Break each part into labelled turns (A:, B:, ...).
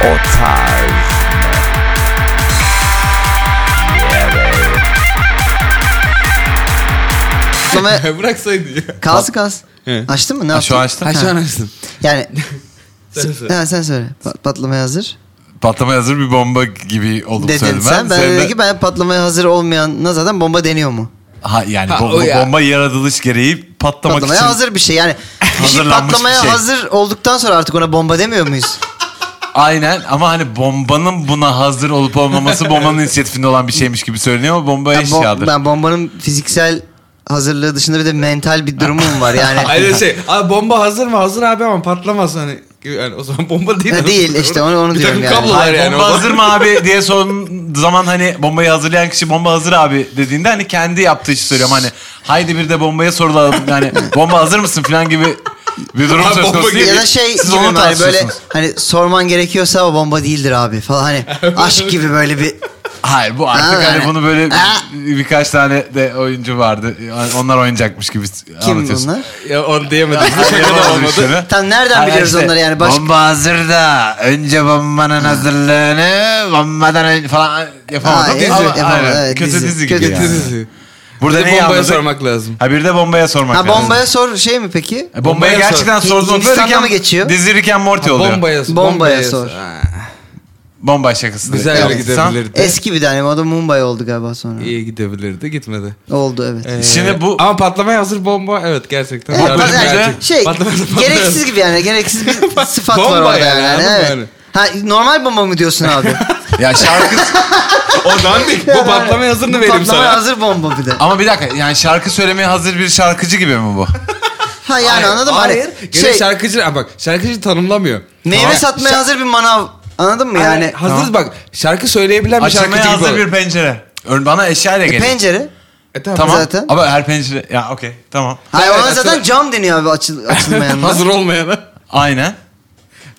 A: O tarz mı? Evet.
B: Ama
C: E, Bıraksaydın ya.
B: kalsın kalsın.
C: Evet.
B: Açtın mı? Ne
D: Ha,
B: yaptın?
D: E, şu açtım.
C: Ha şu an açtın.
B: Yani
C: Sen söyle.
B: ha, sen söyle. Pa- patlamaya hazır.
D: Patlama hazır bir bomba gibi oldum
B: Dedin
D: söyledim.
B: sen. Ben
D: Senin
B: dedim
D: de-
B: ki ben patlamaya hazır olmayanına zaten bomba deniyor mu?
D: Ha yani
C: Ha,
D: bo-
C: o ya.
D: bomba yaratılış gereği patlamak
B: Patlamaya
D: için.
B: hazır bir şey. Yani bir şey
D: Hazırlanmış bir
B: patlamaya
D: şey.
B: hazır olduktan sonra artık ona bomba demiyor muyuz?
D: Aynen ama hani bombanın buna hazır olup olmaması bombanın inisiyatifinde olan bir şeymiş gibi söyleniyor ama bomba
B: Ben, bom-
D: eşyadır.
B: ben bombanın fiziksel hazırlığı dışında bir de mental bir durumu mu var? Yani
C: Aynen şey. Abi bomba hazır mı? Hazır abi ama patlamaz hani. Yani o zaman bomba değil. Hani
B: Ha, değil, işte onu- onu
C: bir
B: diyorum
C: takım
B: yani.
C: kablolar
D: Hayır,
C: yani.
D: bomba
C: o-
D: hazır mı abi diye sorduğun zaman hani bombayı hazırlayan kişi bomba hazır abi dediğinde hani kendi yaptığı işi söylüyorum hani haydi bir de bombaya sorulalım yani bomba hazır mısın falan gibi bir durum
C: Ha,
D: söz
C: bomba
D: konusu
C: gibi.
D: değil.
B: ya da şey
D: Siz
B: gibi
D: onu
B: mi hani böyle
D: tartışıyorsunuz.
B: hani sorman gerekiyorsa o bomba değildir abi falan hani aşk gibi böyle bir
D: Hayır bu artık
B: Ha,
D: hani bunu böyle bir-
B: ha.
D: birkaç tane de oyuncu vardı. Onlar oynayacakmış gibi
B: kim
D: anlatıyorsun.
B: bunlar?
C: Ya onu diyemedim. Bu
D: Hayır,
C: şaka da
D: olmadı
C: olmadı.
D: üstüne.
B: Tam nereden
D: Ha,
B: biliyoruz onları yani? Baş-
D: Bomba hazır da önce bombanın hazırlığını bombadan önce falan yapamadım.
B: Ha, evet,
D: Ama-
B: yapamadım,
D: aynen.
B: evet,
D: kötü
B: dizi.
D: dizi, gibi
B: Kötü
D: yani.
C: Dizi.
D: Burada
C: Bir de
D: neyi
C: bombaya
D: anladık?
C: sormak lazım.
D: Ha bir de bombaya sormak
B: Ha
D: lazım.
B: bombaya sor şey mi peki?
D: E, bombaya
C: Bombaya
D: gerçekten
B: sor.
D: sorduğun
B: Hindistan'da
D: Rick and-
B: mı geçiyor?
D: Dizi Rick and Morty oluyor. Bombaya.
C: Bombaya,
B: Bombaya sor.
C: Ha,
D: Bomba şakası.
C: Güzel
D: Evet.
C: yere gidebilirdi.
B: Eski bir tane o da Mumbai oldu galiba sonra.
C: İyi gidebilirdi gitmedi.
B: Oldu evet.
C: Ee,
D: Şimdi bu-
C: Ama patlamaya hazır bomba evet gerçekten.
B: Evet,
C: Yardım
B: yani
C: gerçek.
B: şey
C: Patlamaya hazır bomba
B: gereksiz
C: evet.
B: gibi yani gereksiz bir sıfat
C: Bomba
B: var orada yani.
C: yani, anladın mı
B: evet.
C: yani?
B: Ha normal bomba mı diyorsun abi?
D: Ya şarkı
C: O dandik. Bu patlamaya hazırını vereyim
B: Patlamaya
C: sana.
B: hazır bomba bir de.
D: ama bir dakika yani şarkı söylemeye hazır bir şarkıcı gibi mi bu?
B: Ha yani anladın mı?
C: Hayır.
B: Hani
C: Gene
B: şey,
C: şarkıcı Ha, bak şarkıcı tanımlamıyor.
B: meyve
C: Tamam.
B: satmaya hazır bir manav. Anladın mı yani?
C: Yani hazır bak şarkı söyleyebilen bir şarkıcı gibi.
D: Açılmaya hazır
C: ol.
D: bir pencere. Ön- Bana eşyayla
B: E,
D: gelin.
B: pencere.
C: E, tamam.
D: Tamam.
B: zaten.
D: Ama her pencere ya okey tamam.
B: Hayır
C: Evet,
B: ona zaten
C: açıl-
B: cam deniyor abi açıl, açılmayanlar.
C: hazır olmayana.
D: Aynen.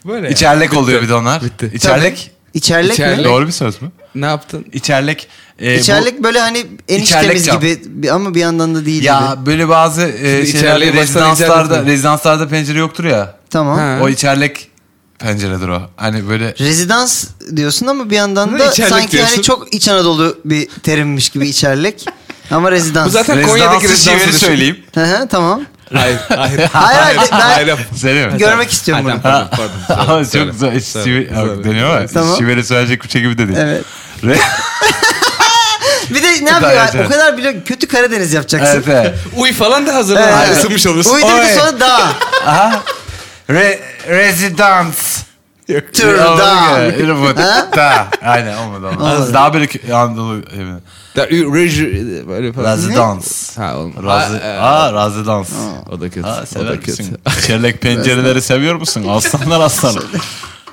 C: Böyle yani.
D: İçerlek oluyor bir de onlar.
C: Bitti.
D: İçerlek.
B: İçerlek, mi?
C: İçerlek.
D: Doğru bir söz mü?
C: Ne yaptın?
D: İçerlek. e, bu-
B: İçerlik böyle hani eniştemiz
D: İçerlik cam.
B: gibi bir- ama bir yandan da değil
D: ya
B: gibi.
D: böyle bazı e, şeylerde
C: içerleği baştan
D: rezidanslarda,
C: icat etme.
D: rezidanslarda pencere yoktur ya.
B: Tamam.
C: Ha.
D: O içerlek penceredir o. Hani böyle
B: Rezidans diyorsun ama bir yandan
C: Ne
B: da
C: içerlik
B: sanki
C: diyorsun?
B: hani çok İç Anadolu bir terimmiş gibi içerlik. ama rezidans.
C: Bu zaten Konya'daki
D: rezidansı
C: rezidansı
D: çeviri
C: düşün.
D: söyleyeyim.
B: Hı hı, tamam.
C: Hayır. Hayır.
B: Hayır, hayır, ben-
D: Söyleyeyim mi?
B: Görmek istiyorum
C: Hayır,
B: bunu.
C: tamam, pardon, pardon.
D: Ama çok
C: Söyle.
D: güzel.
C: Söyle.
D: Şive,
C: Söyle.
D: deniyor ama
B: Tamam.
D: şiveri söyleyecek bir şey gibi de değil.
B: Evet.
D: Re-
B: Bir de ne
D: Gayet
B: yapıyor?
D: evet.
B: O kadar bile kötü Karadeniz yapacaksın.
D: evet. evet.
C: Uy falan da hazır.
B: Evet.
C: Evet. Isınmış olursun.
B: Uydu bir de
D: Oy.
B: sonra dağ.
D: Aha. Re- rezidans.
B: Tür dağ. Ha?
D: Da. Aynen olmadı
B: Olmadı.
D: olmadı. Daha böyle kö- Anadolu evi.
C: Da- ü- reji- Böyle falan.
D: Rezidans.
C: Ha oğlum.
D: Razı,
C: Ha, e,
D: aa, razidans.
C: O da kötü.
D: Aa,
C: o da
D: sever
C: kötü.
D: misin? Çerlek pencereleri seviyor musun? Aslanlar aslanım.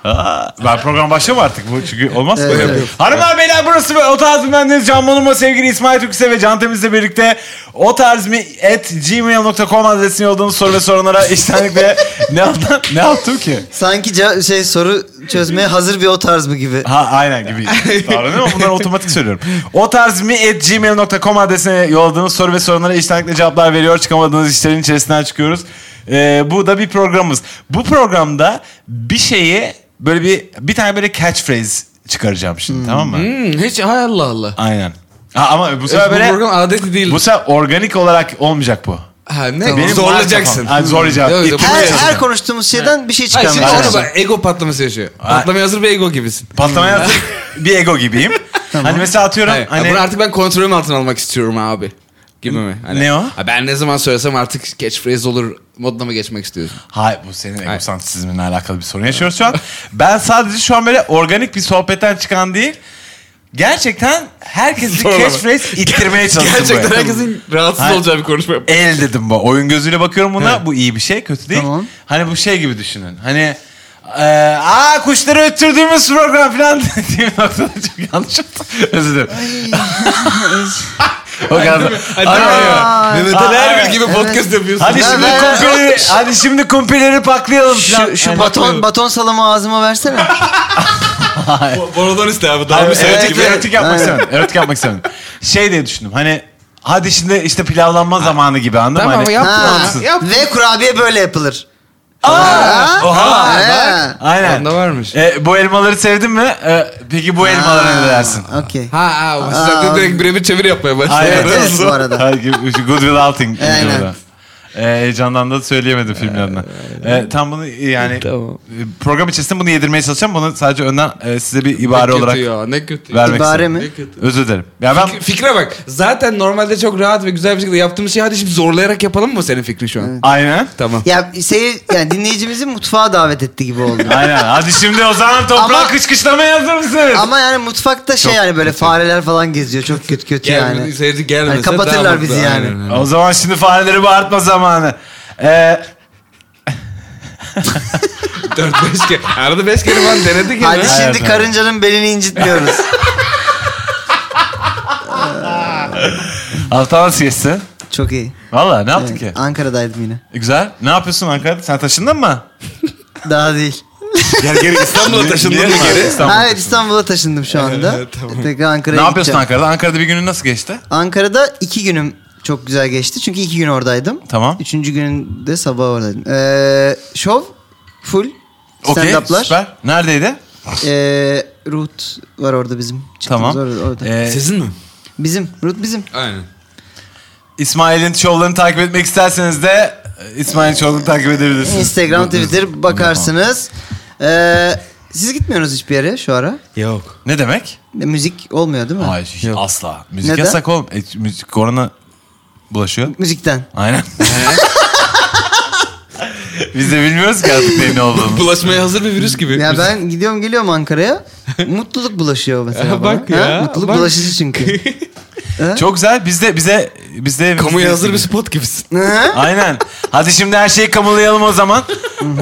D: Aa, ben program başlama artık bu çünkü olmaz mı?
B: Evet,
D: Böyle?
B: evet.
D: Hanımlar beyler burası ve o tarz mı bendeniz Can Bonomo sevgili İsmail Türkse ve Can Temiz'le birlikte o tarz mı at gmail.com adresine yolladığınız soru ve soranlara iştenlikle ne yaptım, ne yaptım ki?
B: Sanki ce- şey soru çözmeye hazır bir o tarz mı gibi.
D: Ha aynen gibi davranıyor ama bunları otomatik söylüyorum. O tarz mi at gmail.com adresine yolladığınız soru ve sorunlara içtenlikle cevaplar veriyor. Çıkamadığınız işlerin içerisinden çıkıyoruz. Ee, bu da bir programımız. Bu programda bir şeyi böyle bir bir tane böyle catchphrase çıkaracağım şimdi tamam mı?
C: Hmm, hiç hay Allah Allah.
D: Aynen. Ha, ama bu sefer
C: Bu
D: böyle
C: program adeti değil.
D: bu sefer organik olarak olmayacak bu.
C: Ha ne?
D: Benim
C: Zorlayacaksın.
D: Ha, zorlayacağım.
C: Yok, yok,
B: Her,
C: buraya-
B: her konuştuğumuz şeyden bir şey
C: Hayır şimdi
B: çıkarmaya
C: onu
B: çalışıyorum.
C: bak ego patlaması yaşıyor.
D: Ay.
C: Patlamaya hazır bir ego gibisin.
D: Patlamaya hazır bir ego gibiyim. Hani mesela atıyorum
C: Hayır,
D: hani
C: Bunu artık ben kontrolüm altına almak istiyorum abi. Gibi mi? Hani,
D: Ne o?
C: Ha, ben ne zaman söylesem artık catchphrase olur moduna mı geçmek istiyorsun?
D: Hayır bu senin egosantrizminle alakalı bir sorun yaşıyoruz şu an. Ben sadece şu an böyle organik bir sohbetten çıkan değil. Gerçekten herkesi
C: Zorlama.
D: catchphrase ittirmeye çalıştım.
C: Gerçekten
D: buraya.
C: herkesin rahatsız
D: Hayır.
C: olacağı bir konuşma yap.
D: El dedim bu. Oyun gözüyle bakıyorum buna. Bu iyi bir şey, kötü değil.
B: Tamam.
D: Hani bu şey gibi düşünün. Hani e, aa kuşları öttürdüğümüz program falan dediğim noktada çok yanlış oldu. Özür dilerim. o kadar. Ay,
C: Mehmet
D: Aa,
C: Ali Erbil
D: evet,
C: gibi podcast yapıyorsun.
D: Hadi
B: Ben-
D: şimdi
B: ben-
D: kumpileri, hadi şimdi kumpileri paklayalım. falan.
B: Şu, şu
D: Yani-
B: baton, baton salamı ağzıma versene.
C: Bo- Bonodan iste abi. Daha
D: Abi
C: bir
D: erotik,
C: seyahat gibi.
D: erotik yapmak
B: Aynen.
D: istemedim. Erotik yapmak istemedim. Şey diye düşündüm. Hani hadi şimdi işte pilavlanma zamanı gibi anladın mı?
C: Tamam,
D: Hani,
C: yap.
B: Ha.
C: Yapma.
B: Ve kurabiye böyle yapılır.
D: Oha.
B: Ha.
D: Aynen.
C: Onda varmış.
D: E, bu elmaları sevdin mi? E, peki bu elmalara ne dersin?
B: Okey.
C: Ha ha. o Zaten
B: Aa.
C: direkt birebir çeviri yapmaya başladı.
D: Aynen.
B: Evet, evet, Şey bu arada.
D: Hayır, Good Will Hunting.
B: Aynen.
D: Aynen. E, heyecandan da söyleyemedim filmin adını. E, tam bunu yani
C: Tamam.
D: e, program içerisinde bunu yedirmeye çalışacağım. Bunu sadece önden e, size bir ibare
C: ne
D: olarak
C: kötü ya ne kötü.
D: vermek
B: İbare
D: istedim.
B: mi?
C: Ne kötü.
D: Özür dilerim. Ya ben
C: Fik- Fikre bak. Zaten normalde çok rahat ve güzel bir şekilde yaptığımız şey hadi şimdi zorlayarak yapalım mı senin fikrin şu an?
D: aynen.
C: Tamam.
B: Ya seyir, yani dinleyicimizi mutfağa davet etti gibi oldu.
D: Aynen. Hadi şimdi o zaman toprağa
B: Ama-
D: kışkışlamaya hazır mısınız?
B: Ama yani mutfakta şey yani böyle fareler falan geziyor. Çok kötü kötü
C: Gel,
B: yani.
C: Seyirci gelmese
B: Yani kapatırlar
C: daha mutlu.
B: bizi yani.
C: Aynen, aynen.
D: O zaman şimdi fareleri bağırtma zamanı. E,
C: Dört beş kere. Arada beş kere falan denedik ya.
B: Hadi
C: lan.
B: şimdi
D: Evet, evet.
B: karıncanın belini incitmiyoruz.
D: Altan geçsin.
B: Çok iyi.
D: Valla ne yaptın ki?
B: Evet, Ankara'daydım yine.
D: E, Güzel. Ne yapıyorsun Ankara'da? Sen taşındın mı?
B: Daha değil.
D: Geri geri İstanbul'a
C: taşındın mı geri?
B: Hayır İstanbul'a taşındım şu anda.
C: Evet, tamam.
B: Tekrar Ankara'ya
D: Ne yapıyorsun
B: gideceğim.
D: Ankara'da? Ankara'da bir günün nasıl geçti?
B: Ankara'da iki günüm çok güzel geçti. Çünkü iki gün oradaydım.
D: Tamam.
B: Üçüncü günün de sabah oradaydım. Ee, şov full.
D: Okey,
B: Stand-up'lar.
D: süper. Neredeydi?
B: Ee, Ruth var orada bizim. Çıktığımız
D: Tamam.
B: Orada, orada.
D: Ee,
C: Sizin mi?
B: bizim. Ruth bizim.
C: Aynen.
D: İsmail'in şovlarını takip etmek isterseniz de e, İsmail'in şovlarını takip edebilirsiniz.
B: Instagram, Twitter bakarsınız. Ee, siz gitmiyorsunuz hiçbir yere şu ara.
C: Yok.
D: Ne demek?
B: E, Müzik olmuyor değil mi?
D: Hayır hiç
C: Yok.
D: asla. Müzik
B: Neden?
D: yasak oğlum. E, müzik korona bulaşıyor.
B: Müzikten.
D: Aynen. Biz de bilmiyoruz ki artık neyin ne olduğunu.
C: Bulaşmaya hazır bir virüs gibi.
B: Ya ben gidiyorum geliyorum Ankara'ya. Mutluluk bulaşıyor mesela.
C: Ya bak
B: bana.
C: ya,
B: Mutluluk
C: bak.
B: bulaşıcı çünkü.
D: Çok güzel. Biz de bize bize
C: Kamuya hazır bir spot gibisin.
B: Hı?
D: Aynen. Hadi şimdi her şeyi kamulayalım o zaman.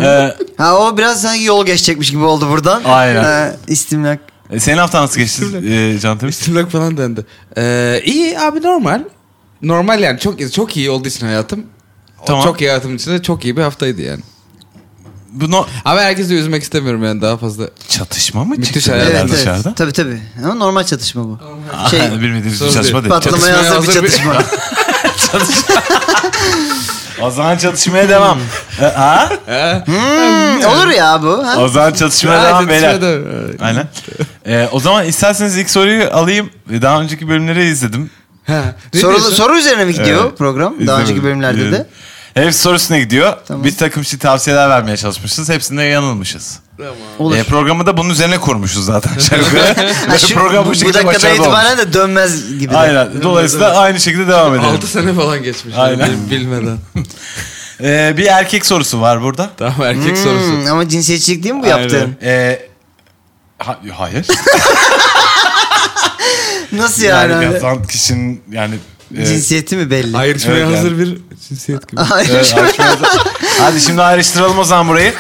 D: ee,
B: ha o biraz sanki yol geçecekmiş gibi oldu buradan.
D: Aynen.
B: Ha, istimlak.
D: e, senin haftan nasıl geçti e, Can Temiz?
C: Stimlak falan dendi. Ee, iyi abi normal. Normal yani çok çok iyi olduğu için hayatım.
D: Tamam.
C: Tamam. Çok iyi hayatım içinde çok iyi bir haftaydı yani.
D: Bu no-
C: Ama herkesi de üzmek istemiyorum yani daha fazla.
D: çatışma mı
C: Müthiş
D: çıktı?
C: hayaller
D: beraber
B: Evet,
D: dışarıda?
B: evet. Tabii tabii. Ama normal çatışma bu.
D: Aha,
B: Şey,
D: bilmediğimiz bir
C: sorun
D: çatışma değil.
C: değil.
D: Çat-
B: Patlamaya hazır bir
C: Çatışmaya hazır
B: çatışma.
D: o zaman çatışmaya devam. E, ha?
B: Hmm, olur ya bu. Ha?
D: O zaman çatışmaya
C: Aynen,
D: devam beyler.
C: dışarıda-
D: Aynen. E, o zaman isterseniz ilk soruyu alayım. E, Daha önceki bölümleri izledim.
C: Ha, ne
B: Soru,
C: diyorsun?
B: soru üzerine mi gidiyor
D: Evet.
B: program? Daha
D: İzlemedim. Ee,
B: önceki bölümlerde de.
D: İzledim. Hep sorusuna gidiyor.
B: Tamam.
D: Bir takım şey tavsiyeler vermeye çalışmışız. Hepsinde yanılmışız.
B: Olur.
D: E, programı da bunun üzerine kurmuşuz zaten şarkı.
B: Ha, şu-
D: program bu,
B: bu,
D: şekilde
B: dakikadan
D: başarılı olmuş.
B: itibaren de dönmez gibi. de.
D: Aynen. Dolayısıyla aynı şekilde devam edelim.
C: Altı sene falan geçmiş.
D: Aynen.
C: Aynen. Bilmeden.
D: Ee, bir erkek sorusu var burada.
C: Tamam erkek sorusu.
B: Hmm, ama cinsiyetçilik değil mi bu yaptığın?
D: Ee, ha- hayır.
B: Nasıl yani?
D: yani yazan kişinin yani... e,
B: Cinsiyeti mi belli?
C: Ayrışmaya
D: Evet, yani.
C: hazır bir cinsiyet gibi.
B: Hayır.
D: evet, ayrışmaya- e, Hadi şimdi ayrıştıralım o zaman burayı.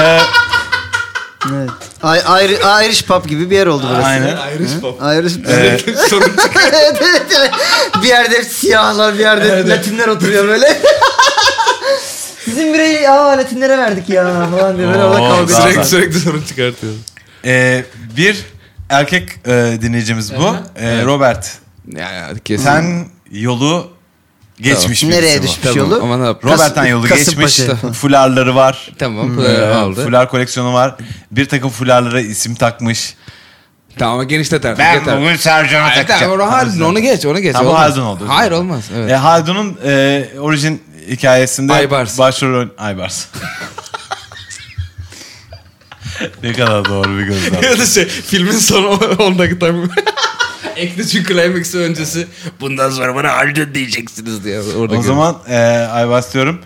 B: Evet. Ay, ayrı, Irish pub gibi bir yer oldu burası.
D: Aynen.
C: Ayrış pop.
B: Irish
D: Ee,
C: Sorun çıkıyor.
B: evet, evet, evet. Bir yerde hep siyahlar, bir yerde hep Latinler oturuyor böyle. Bizim bireyi aa Latinlere verdik ya falan diye böyle orada
D: Oo,
B: kavga
D: daha-
B: ediyor.
C: sürekli, sürekli sorun çıkartıyor.
D: e, bir erkek e, dinleyicimiz bu. E, Robert.
C: Ya, ya kesin.
D: Sen şey yolu geçmiş birisi
B: Nereye
D: bu.
B: düşmüş
C: Tamam,
B: yolu?
C: ama ne yap-
D: Robert'ten
B: Kas-
D: yolu geçmiş.
B: Kasımpaşa.
D: Fularları var.
C: Tamam.
D: Ee,
C: Pınar'ı aldı.
D: Fular koleksiyonu var. Bir takım fularlara isim takmış.
C: Tamam genişleter.
D: Sercan'a
C: Hayır, tamam,
D: şey
C: onu, hayır, onu geç, onu geç.
D: Ha, bu
C: olmaz.
D: Haldun oldu.
C: Hayır olmaz. Evet.
D: E, Haldun'un e, orijin hikayesinde
C: Aybars.
D: başrol oyn- Aybars. ne kadar doğru bir gözlem.
C: ya da şey filmin son 10 dakika Ekle çünkü climax'ı öncesi. Bundan sonra bana Haldun diyeceksiniz diye. Orada
D: o zaman e, Aybars diyorum.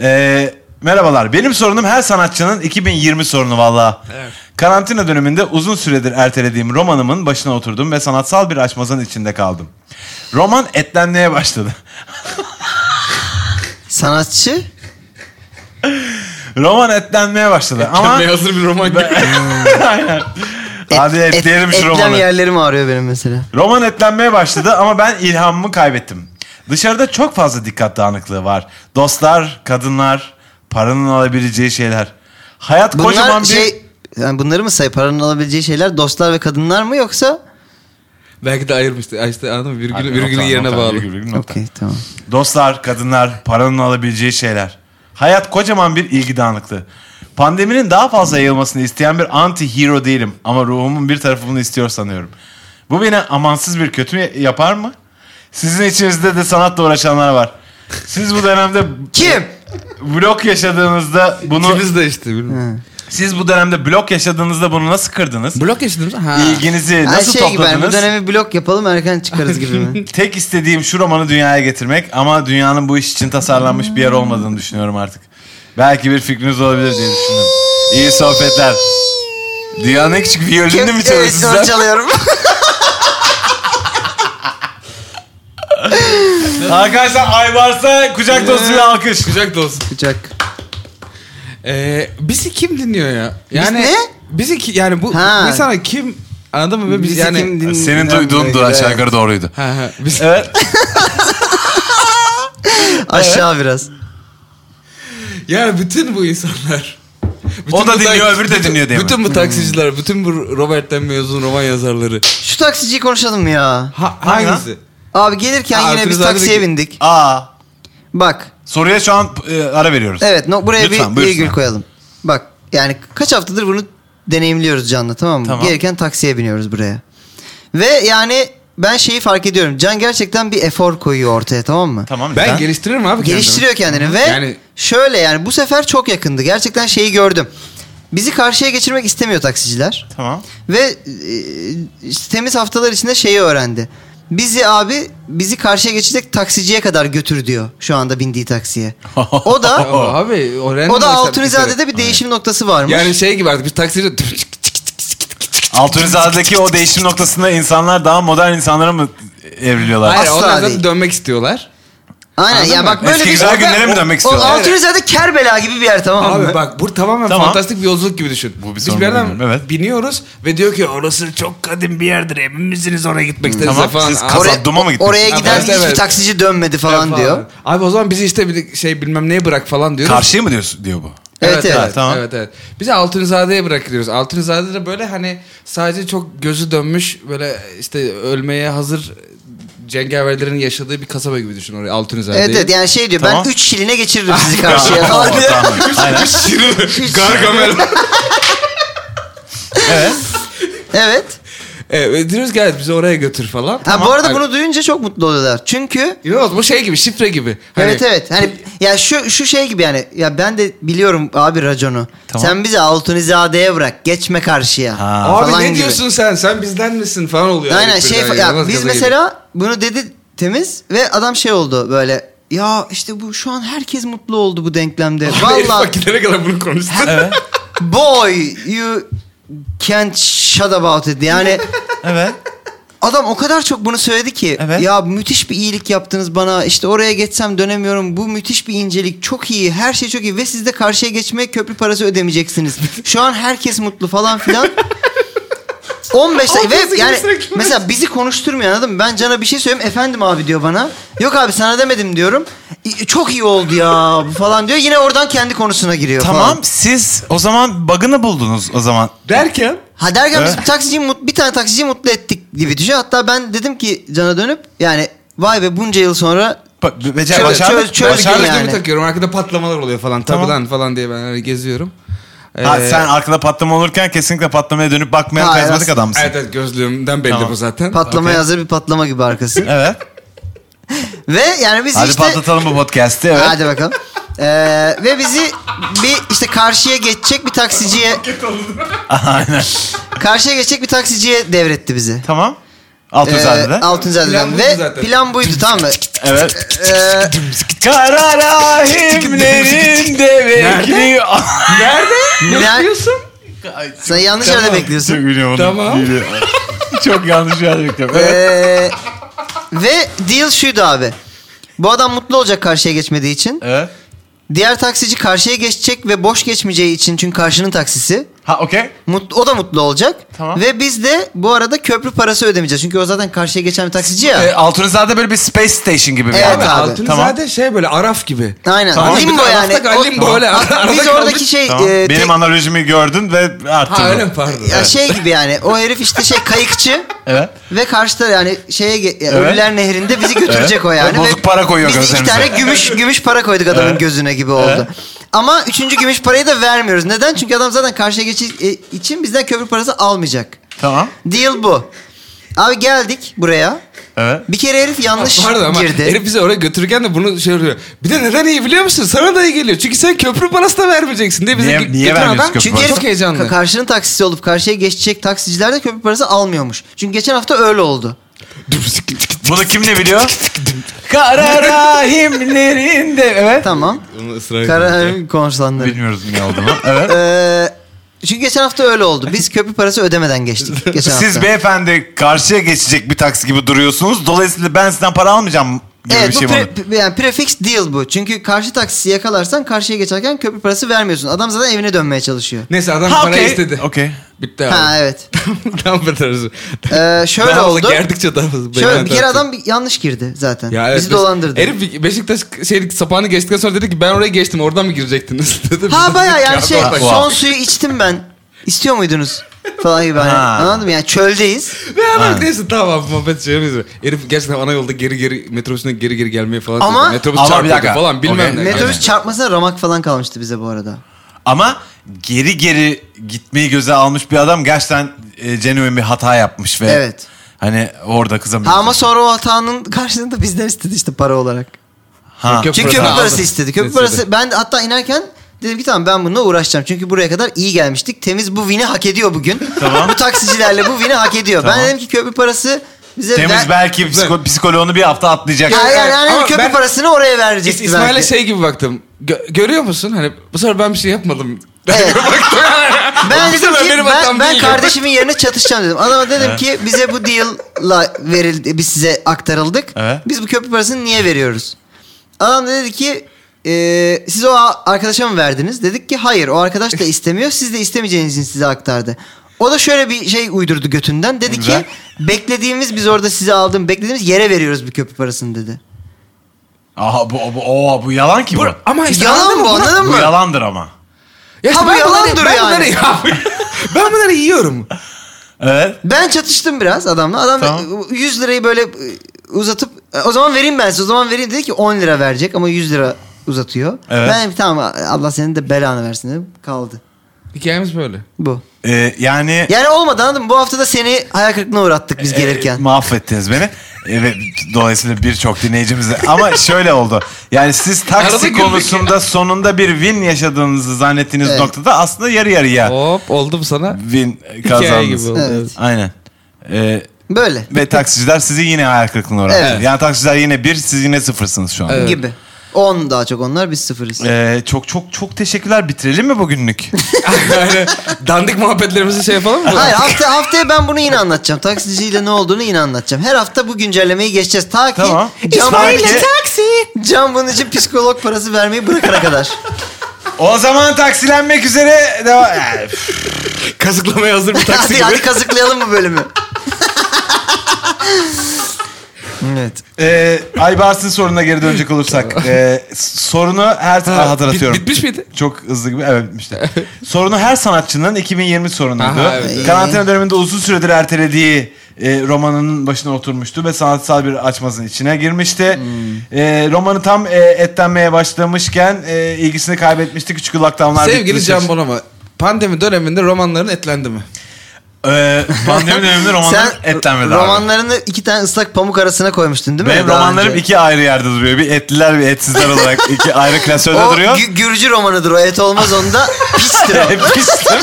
D: E, merhabalar. Benim sorunum her sanatçının 2020 sorunu valla.
C: Evet.
D: Karantina döneminde uzun süredir ertelediğim romanımın başına oturdum ve sanatsal bir açmazın içinde kaldım. Roman etlenmeye başladı.
B: Sanatçı?
D: Roman etlenmeye başladı ama...
C: hazır bir roman gibi.
D: Hadi
B: Et-
D: etleyelim şu
B: etlem
D: romanı.
B: yerlerim ağrıyor benim mesela.
D: Roman etlenmeye başladı ama ben ilhamımı kaybettim. Dışarıda çok fazla dikkat dağınıklığı var. Dostlar, kadınlar, paranın alabileceği şeyler. Hayat
B: Bunlar
D: kocaman bir...
B: şey... Yani bunları mı say? Paranın alabileceği şeyler dostlar ve kadınlar mı yoksa?
C: Belki de ayırmıştı. Ay işte anladın mı?
D: Hayır,
C: Virgül,
D: nokta,
C: virgülün yerine
D: nokta,
C: bağlı.
D: virgül, virgül, nokta.
B: Okey tamam.
D: Dostlar, kadınlar, paranın alabileceği şeyler. Hayat kocaman bir ilgi dağınıklığı. Pandeminin daha fazla yayılmasını isteyen bir anti-hero değilim ama ruhumun bir tarafı bunu istiyor sanıyorum. Bu beni amansız bir kötü mü yapar mı? Sizin içinizde de sanatla uğraşanlar var. Siz bu dönemde
B: Kim?
D: blok yaşadığınızda bunu
C: İkimiz de işte. bilmiyorum.
D: siz bu dönemde blok yaşadığınızda bunu nasıl kırdınız?
C: Blok yaşadınız mı? Ha.
D: İlginizi
B: Ha,
D: E, nasıl
B: şey gibi hani bu
D: topladınız?
B: dönemi blok yapalım erken çıkarız gibi mi?
D: Tek istediğim şu romanı dünyaya getirmek ama dünyanın bu iş için tasarlanmış bir yer olmadığını düşünüyorum artık. Belki bir fikriniz olabilir diye düşündüm. İyi sohbetler. Dünyanın en küçük viyolinini mi
B: Evet,
D: çalıyorsun
B: sonra
D: sen?
B: çalıyorum.
D: Arkadaşlar Aybars'a kucak dostuyla alkış.
C: Kucak da olsun.
B: Bıçak.
C: Ee, bizi kim dinliyor ya?
B: ne?
C: Bizi ki, yani bu
B: Ha.
C: mesela kim anladın mı? Ve biz
B: Bizi
C: yani
B: kim din-
D: Senin
B: dinler
D: duyduğun
B: mi?
D: dua aşağı yukarı doğruydu.
C: Ha, ha, biz-
D: Evet.
B: Aşağı biraz.
C: Yani bütün bu insanlar. bütün bu
D: O da
C: tak-
D: dinliyor, öbürü de
C: bütün-
D: dinliyor diye mi?
B: Hmm.
C: Bütün bu taksiciler, bütün bu Robert'ten mezun roman yazarları.
B: Şu taksiciyi konuşalım ya.
C: Ha, hangisi?
B: Abi gelirken
C: Ha,
B: yine biz
C: Arkanızda
B: taksiye
C: bir-
B: bindik.
D: Aa.
B: Bak.
D: Soruya şu an e, ara veriyoruz.
B: Evet no, buraya
D: Lütfen,
B: bir
D: buyursun.
B: virgül koyalım. Bak yani kaç haftadır bunu deneyimliyoruz Can'la tamam mı?
D: Tamam.
B: Gelirken taksiye biniyoruz buraya. Ve yani ben şeyi fark ediyorum. Can gerçekten bir efor koyuyor ortaya tamam mı?
D: Tamam.
C: Ben
D: Ben
C: geliştiririm abi kendimi.
B: Geliştiriyor kendini ve
C: Yani-
B: şöyle yani bu sefer çok yakındı. Gerçekten şeyi gördüm. Bizi karşıya geçirmek istemiyor taksiciler.
D: Tamam.
B: Ve e, işte temiz haftalar içinde şeyi öğrendi. Bizi abi bizi karşıya geçecek taksiciye kadar götür diyor şu anda bindiği taksiye. O da
C: Ya abi o random
B: o da
C: hesap
B: Altunizade'de
C: giderek.
B: bir değişim noktası varmış.
C: Yani şey gibi artık biz taksici
D: Altunizade'deki o değişim noktasında insanlar daha modern insanlara mı evriliyorlar?
C: Hayır
B: Asla
C: onlar zaten
B: değil.
C: dönmek istiyorlar.
B: Aynen ya
C: Anladın
B: bak
C: mı?
B: böyle
D: Eski
B: bir
D: güzel günlere mi dönmek
B: O
D: istiyorlar?
B: Altunizade Kerbela gibi bir yer tamam mı?
C: Abi bak bu tamamen
D: Tamam.
C: fantastik bir yolculuk gibi düşün.
D: Bu bir
C: Biz
D: sorun
C: bir yerden
D: bilmiyorum, evet.
C: biniyoruz ve diyor ki orası çok kadim bir yerdir emin misiniz oraya gitmek isteriz
D: Tamam,
C: falan.
D: siz
C: Abi-
D: kazan-
B: oraya,
D: Sadum'a mı gittiniz?
B: oraya giden
C: Evet,
B: hiçbir
C: evet.
B: taksici dönmedi falan diyor.
C: Abi o zaman bizi işte bir de şey bilmem neye bırak falan diyoruz.
D: Karşıya mı diyorsun diyor bu?
B: Evet evet.
C: evet,
D: tamam.
C: evet, evet. Bizi Altunizade'ye bırakıyoruz. Altunizade de böyle hani sadece çok gözü dönmüş böyle işte ölmeye hazır cengaverlerin yaşadığı bir kasaba gibi düşün orayı Altunizade'yi.
B: Evet evet yani şey diyor
D: Tamam.
B: ben 3 şiline geçiririm sizi karşıya
D: Tamam,
B: falan diyor.
D: tamam. Aynen.
C: Gargamel.
D: Evet.
B: Evet.
C: evet, diyoruz gel bizi oraya götür falan.
B: Ha, bu arada bunu duyunca çok mutlu oluyorlar.
D: Hani-
B: Çünkü
C: İnanılmaz bu şey gibi şifre gibi. Hani-
B: evet evet. Hani ya şu şu şey gibi yani ya ben de biliyorum abi raconu.
D: Tamam.
B: Sen bizi Altunizade'ye bırak. Geçme karşıya.
D: Ha.
C: Abi
B: falan
C: ne
B: gibi.
C: diyorsun sen? Sen bizden misin falan oluyor.
B: Aynen
C: herif
B: şey
C: birden
B: ya
C: inanılmaz
B: biz
C: gaza geliyor.
B: mesela bunu dedi temiz ve adam şey oldu böyle ya işte bu şu an herkes mutlu oldu bu denklemde.
C: Herif
B: Vallahi
C: bak gidene kadar bunu konuştu.
B: boy you can't shut about it. Yani
D: Evet.
B: adam o kadar çok bunu söyledi ki
D: Evet.
B: ya müthiş bir iyilik yaptınız bana. İşte oraya geçsem dönemiyorum. Bu müthiş bir incelik. Çok iyi. Her şey çok iyi ve siz de karşıya geçmeye köprü parası ödemeyeceksiniz. Şu an herkes mutlu falan filan. 15 dakika
C: Altınızı
B: ve yani
C: kesinlikle-
B: mesela bizi konuşturmuyor anladın mı? Ben Can'a bir şey söylüyorum. Efendim abi diyor bana. Yok abi sana demedim diyorum. "İ- Çok iyi oldu ya bu falan diyor. Yine oradan kendi konusuna giriyor falan.
D: Tamam siz o zaman bug'ını buldunuz o zaman.
C: Derken
B: Ha derken biz
D: Evet.
B: bir taksiciyi mut- bir tane taksiciyi mutlu ettik gibi düşün. Hatta ben dedim ki Can'a dönüp yani vay be bunca yıl sonra
D: Ba- Becer
B: Çöz-
D: başardık.
B: çöz- çöz-
D: başardık.
B: yani.
C: şarjımı takıyorum. Arkada patlamalar oluyor falan.
D: Tamam.
C: Tamam. falan diye ben hani geziyorum.
D: Ha,
C: Ee,
D: sen arkada patlama olurken kesinlikle patlamaya dönüp bakmayan
B: Hayır,
D: karizmatik
B: aslında-
D: adamsın.
C: Evet evet gözlüğümden belli
D: Tamam.
C: bu zaten.
B: patlamaya
C: Okey.
B: hazır bir patlama gibi arkası.
D: Evet.
B: Ve yani biz
D: Hadi
B: işte
D: patlatalım bu podcast'i. Evet.
B: hadi bakalım. Ee, ve bizi bir işte karşıya geçecek bir taksiciye
D: Aynen.
B: karşıya geçecek bir taksiciye devretti bizi.
D: Tamam. Altunizade'de.
B: Ee, Altunizade'den.
C: Plan buydu
B: ve
C: zaten.
B: plan buydu tamam mı?
D: evet.
B: Ee,
D: Kara rahimlerin devekli...
C: Nerede? Ne
B: Ner-
C: yapıyorsun?
B: sen yanlış yerde bekliyorsun.
D: Çok gülüyorum.
C: Tamam.
D: Gülüyorum. Çok yanlış bir yerde bekliyorum.
B: Ee,
D: Evet.
B: ve deal şuydu abi. Bu adam mutlu olacak karşıya geçmediği için.
D: evet.
B: Diğer taksici karşıya geçecek ve boş geçmeyeceği için çünkü karşının taksisi.
D: Ha okey.
B: Mutlu, o da mutlu olacak.
D: Tamam.
B: Ve biz de bu arada köprü parası ödemeyeceğiz. Çünkü o zaten karşıya geçen bir taksici ya.
D: E, Altunizade böyle bir space station gibi bir
B: Evet
D: yer.
B: abi.
C: Altın
D: Tamam.
C: zaten şey böyle Araf gibi.
B: Aynen.
D: Tamam.
B: Limbo
C: Bir de
B: yani.
C: arada-
B: O-
C: limbo öyle.
B: Biz
C: Arada kaldık.
B: oradaki şey...
D: Tamam.
B: e,
D: Benim
B: tek-
D: analojimi gördün ve arttırdın.
C: Ha öyle mi pardon.
B: ya şey gibi yani. O herif işte şey kayıkçı.
D: Evet.
B: Ve karşıda yani şeye ge- ya Ölüler Nehri'nde bizi götürecek
D: Evet.
B: o yani.
D: Ve bozuk para koyuyor
B: biz iki
D: gözlerimize.
B: tane gümüş gümüş para koyduk adamın gözüne gibi oldu. Ama üçüncü gümüş parayı da vermiyoruz. Neden? Çünkü adam zaten karşıya geçi e, için bizden köprü parası almayacak.
D: Tamam.
B: Deal bu. Abi geldik buraya.
D: Evet.
B: Bir kere herif yanlış
C: Pardon ama
B: girdi.
C: herif bizi oraya götürürken de bunu şey oluyor. Bir de neden iyi biliyor musun? Sana da iyi geliyor. Çünkü sen köprü parası da vermeyeceksin diye bize
D: Niye-
C: gö-
D: niye
C: götüren
D: vermiyorsun
C: adam.
D: köprü
B: Çünkü
D: parası?
B: herif
C: Çok heyecanlı.
B: ka- karşının taksisi olup karşıya geçecek taksiciler de köprü parası almıyormuş. Çünkü geçen hafta öyle oldu.
D: Bunu kim ne biliyor? Kara rahimlerinde. Evet.
B: Tamam.
C: Onu ısrar
B: Karar konuşlanları.
D: Bilmiyoruz ne olduğunu. Evet.
B: Ee, çünkü geçen hafta öyle oldu. Biz köprü parası ödemeden geçtik geçen hafta.
D: Siz beyefendi karşıya geçecek bir taksi gibi duruyorsunuz. Dolayısıyla ben sizden para almayacağım gibi
B: Evet
D: bir
B: bu
D: şey
B: pre-
D: var.
B: pre- yani prefix deal bu. Çünkü karşı taksisi yakalarsan karşıya geçerken köprü parası vermiyorsun. Adam zaten evine dönmeye çalışıyor.
C: Neyse adam
D: Ha,
C: parayı
D: okey.
C: istedi.
D: Okey.
C: e- Bitti abi.
B: Ha evet.
C: Tam bir tarzı.
B: Ee, şöyle
C: Daha
B: oldu.
C: Gerdikçe daha fazla.
B: Şöyle
C: beyan
B: bir kere
C: tartı.
B: adam bir yanlış girdi zaten.
C: Ya evet,
B: Bizi
C: Beş-
B: dolandırdı.
C: Herif Beşiktaş şey, sapağını geçtikten sonra dedi ki ben oraya geçtim oradan mı girecektiniz? dedi.
B: Ha baya yani
C: Kağıda
B: şey
C: bak.
B: son suyu içtim ben. İstiyor muydunuz? Falan gibi hani.
D: Ha.
B: Anladın mı? Yani çöldeyiz.
C: Ve adam neyse tamam muhabbet şey yapıyoruz. Herif gerçekten ana yolda geri geri metrobüsüne geri geri gelmeye falan.
B: Ama-
C: çalışıyor. metrobüs
D: Ama bir
C: çarpıyordu
D: dakika.
C: falan bilmem
D: Okey.
C: ne.
B: Metrobüs
C: Aynen.
B: çarpmasına ramak falan kalmıştı bize bu arada.
D: Ama geri geri gitmeyi göze almış bir adam gerçekten e, genuine bir hata yapmış ve
B: Evet.
D: hani orada kızamıyor.
B: Ha ama sonra o hatanın karşılığında bizden istedi işte para olarak.
D: Ha.
C: Yok, yok.
B: Çünkü
C: Köprü
B: köprü
C: parası
B: parası
C: aldı.
B: istedi. Köprü
C: İstedi.
B: parası ben de hatta inerken dedim ki tamam ben bununla uğraşacağım. Çünkü buraya kadar iyi gelmiştik. Temiz bu vini hak ediyor bugün.
D: Tamam.
B: bu taksicilerle bu vini hak ediyor.
D: Tamam.
B: Ben dedim ki köprü parası bize
D: Temiz
B: ver.
D: belki psiko- psikoloğunu bir hafta atlayacak.
B: Yani, yani,
C: Ama
B: hani köprü
C: ben-
B: parasını oraya verecektik
C: İs- İsmail'e
B: belki.
C: şey gibi baktım. Gö- görüyor musun? Hani bu sefer ben bir şey yapmadım.
B: Evet. ben
C: Bu
B: dedim
C: sefer
B: ki
C: benim hatam
B: ben, ben
C: değil.
B: kardeşimin yerine çatışacağım dedim. Adama dedim ki bize bu deal'la verildi, biz size aktarıldık.
D: Evet.
B: Biz bu köprü parasını niye veriyoruz? Adam da dedi ki "Ee, siz o a- arkadaşa mı verdiniz? Dedik ki hayır o arkadaş da istemiyor. Siz de istemeyeceğiniz için size aktardı. O da şöyle bir şey uydurdu götünden. Dedi
D: Güzel.
B: ki beklediğimiz biz orada size aldığım beklediğimiz yere veriyoruz bu köprü parasını dedi.
D: Aha bu, bu, oo, bu yalan ki bu. Bu,
C: Ama işte
B: Yalan
C: anladın mı?
B: bu,
C: Buna-
B: anladın mı?
D: yalandır ama.
C: Ya işte
B: Ha, bu
C: ben bunları-
B: yalandır
C: ben
B: yani.
C: bunları yap- ben bunları yiyorum.
D: Evet.
B: Ben çatıştım biraz adamla. Adam
D: Tamam.
B: 100 lirayı böyle e, uzatıp e, o zaman vereyim ben size o zaman vereyim dedi ki 10 lira verecek ama 100 lira uzatıyor.
D: Evet.
B: Ben tamam Allah senin de belanı versin dedim. Kaldı.
C: Hikayemiz böyle.
B: Bu.
D: Ee, yani
B: Yani olmadı anladın mı? Bu hafta da seni hayal kırıklığına uğrattık biz
D: E,
B: gelirken.
D: mahvettiniz beni. E, ve dolayısıyla birçok dinleyicimiz de- ama şöyle oldu. Yani siz
C: Arada
D: taksi
C: güldük
D: konusunda sonunda bir win yaşadığınızı zannettiğiniz
B: Evet.
D: noktada aslında yarı yarıya
C: Hop oldum sana.
D: win
C: Hikaye gibi oldu.
D: kazandınız.
B: Evet.
D: Aynen. E,
B: Böyle.
D: ve taksiciler sizi yine hayal kırıklığına uğrattı.
B: Evet.
D: Yani taksiciler yine bir, siz yine sıfırsınız şu an.
C: Evet.
B: Gibi. 10 daha çok onlar biz sıfırız.
D: E, çok çok çok teşekkürler. Bitirelim mi bugünlük?
C: yani dandik muhabbetlerimizi şey yapalım mı?
B: Hayır hafta, haftaya ben bunu yine anlatacağım. Taksiciyle ne olduğunu yine anlatacağım. Her hafta bu güncellemeyi geçeceğiz. Ta ki
D: Tamam.
B: Can, bunun
D: İsmail'le
B: için, Can bunun için psikolog parası vermeyi bırakana kadar.
D: o zaman taksilenmek üzere devam. E,
C: Kazıklamaya hazır bir taksi
B: hadi,
C: gibi.
B: hadi kazıklayalım bu bölümü. evet.
D: E, Aybars'ın sorununa geri dönecek olursak. e, sorunu her
C: Ha,
D: hatırlatıyorum.
C: bit- bitmiş miydi?
D: Çok hızlı gibi evet işte. Sorunu her sanatçının 2020 sorunuydu.
C: Aha, evet.
D: Karantina döneminde uzun süredir ertelediği e, romanının başına oturmuştu ve sanatsal bir açmazın içine girmişti.
C: Hmm.
D: E, romanı tam e, etlenmeye başlamışken e, ilgisini kaybetmişti. Küçük lockdownlar
C: Sevgili
D: bitti.
C: Can Bonomo. Pandemi döneminde romanların etlendi mi?
D: E, pandemi döneminde romanlar
B: Sen
D: etlenmedi abi.
B: romanlarını iki tane ıslak pamuk arasına koymuştun değil mi?
D: Benim
B: daha
D: romanlarım
B: önce?
D: iki ayrı yerde duruyor. Bir etliler bir etsizler olarak iki ayrı klasörde
B: o
D: duruyor.
B: Gü- Gürcü romanıdır o. Et olmaz onda. Pistir o.
D: Pistir.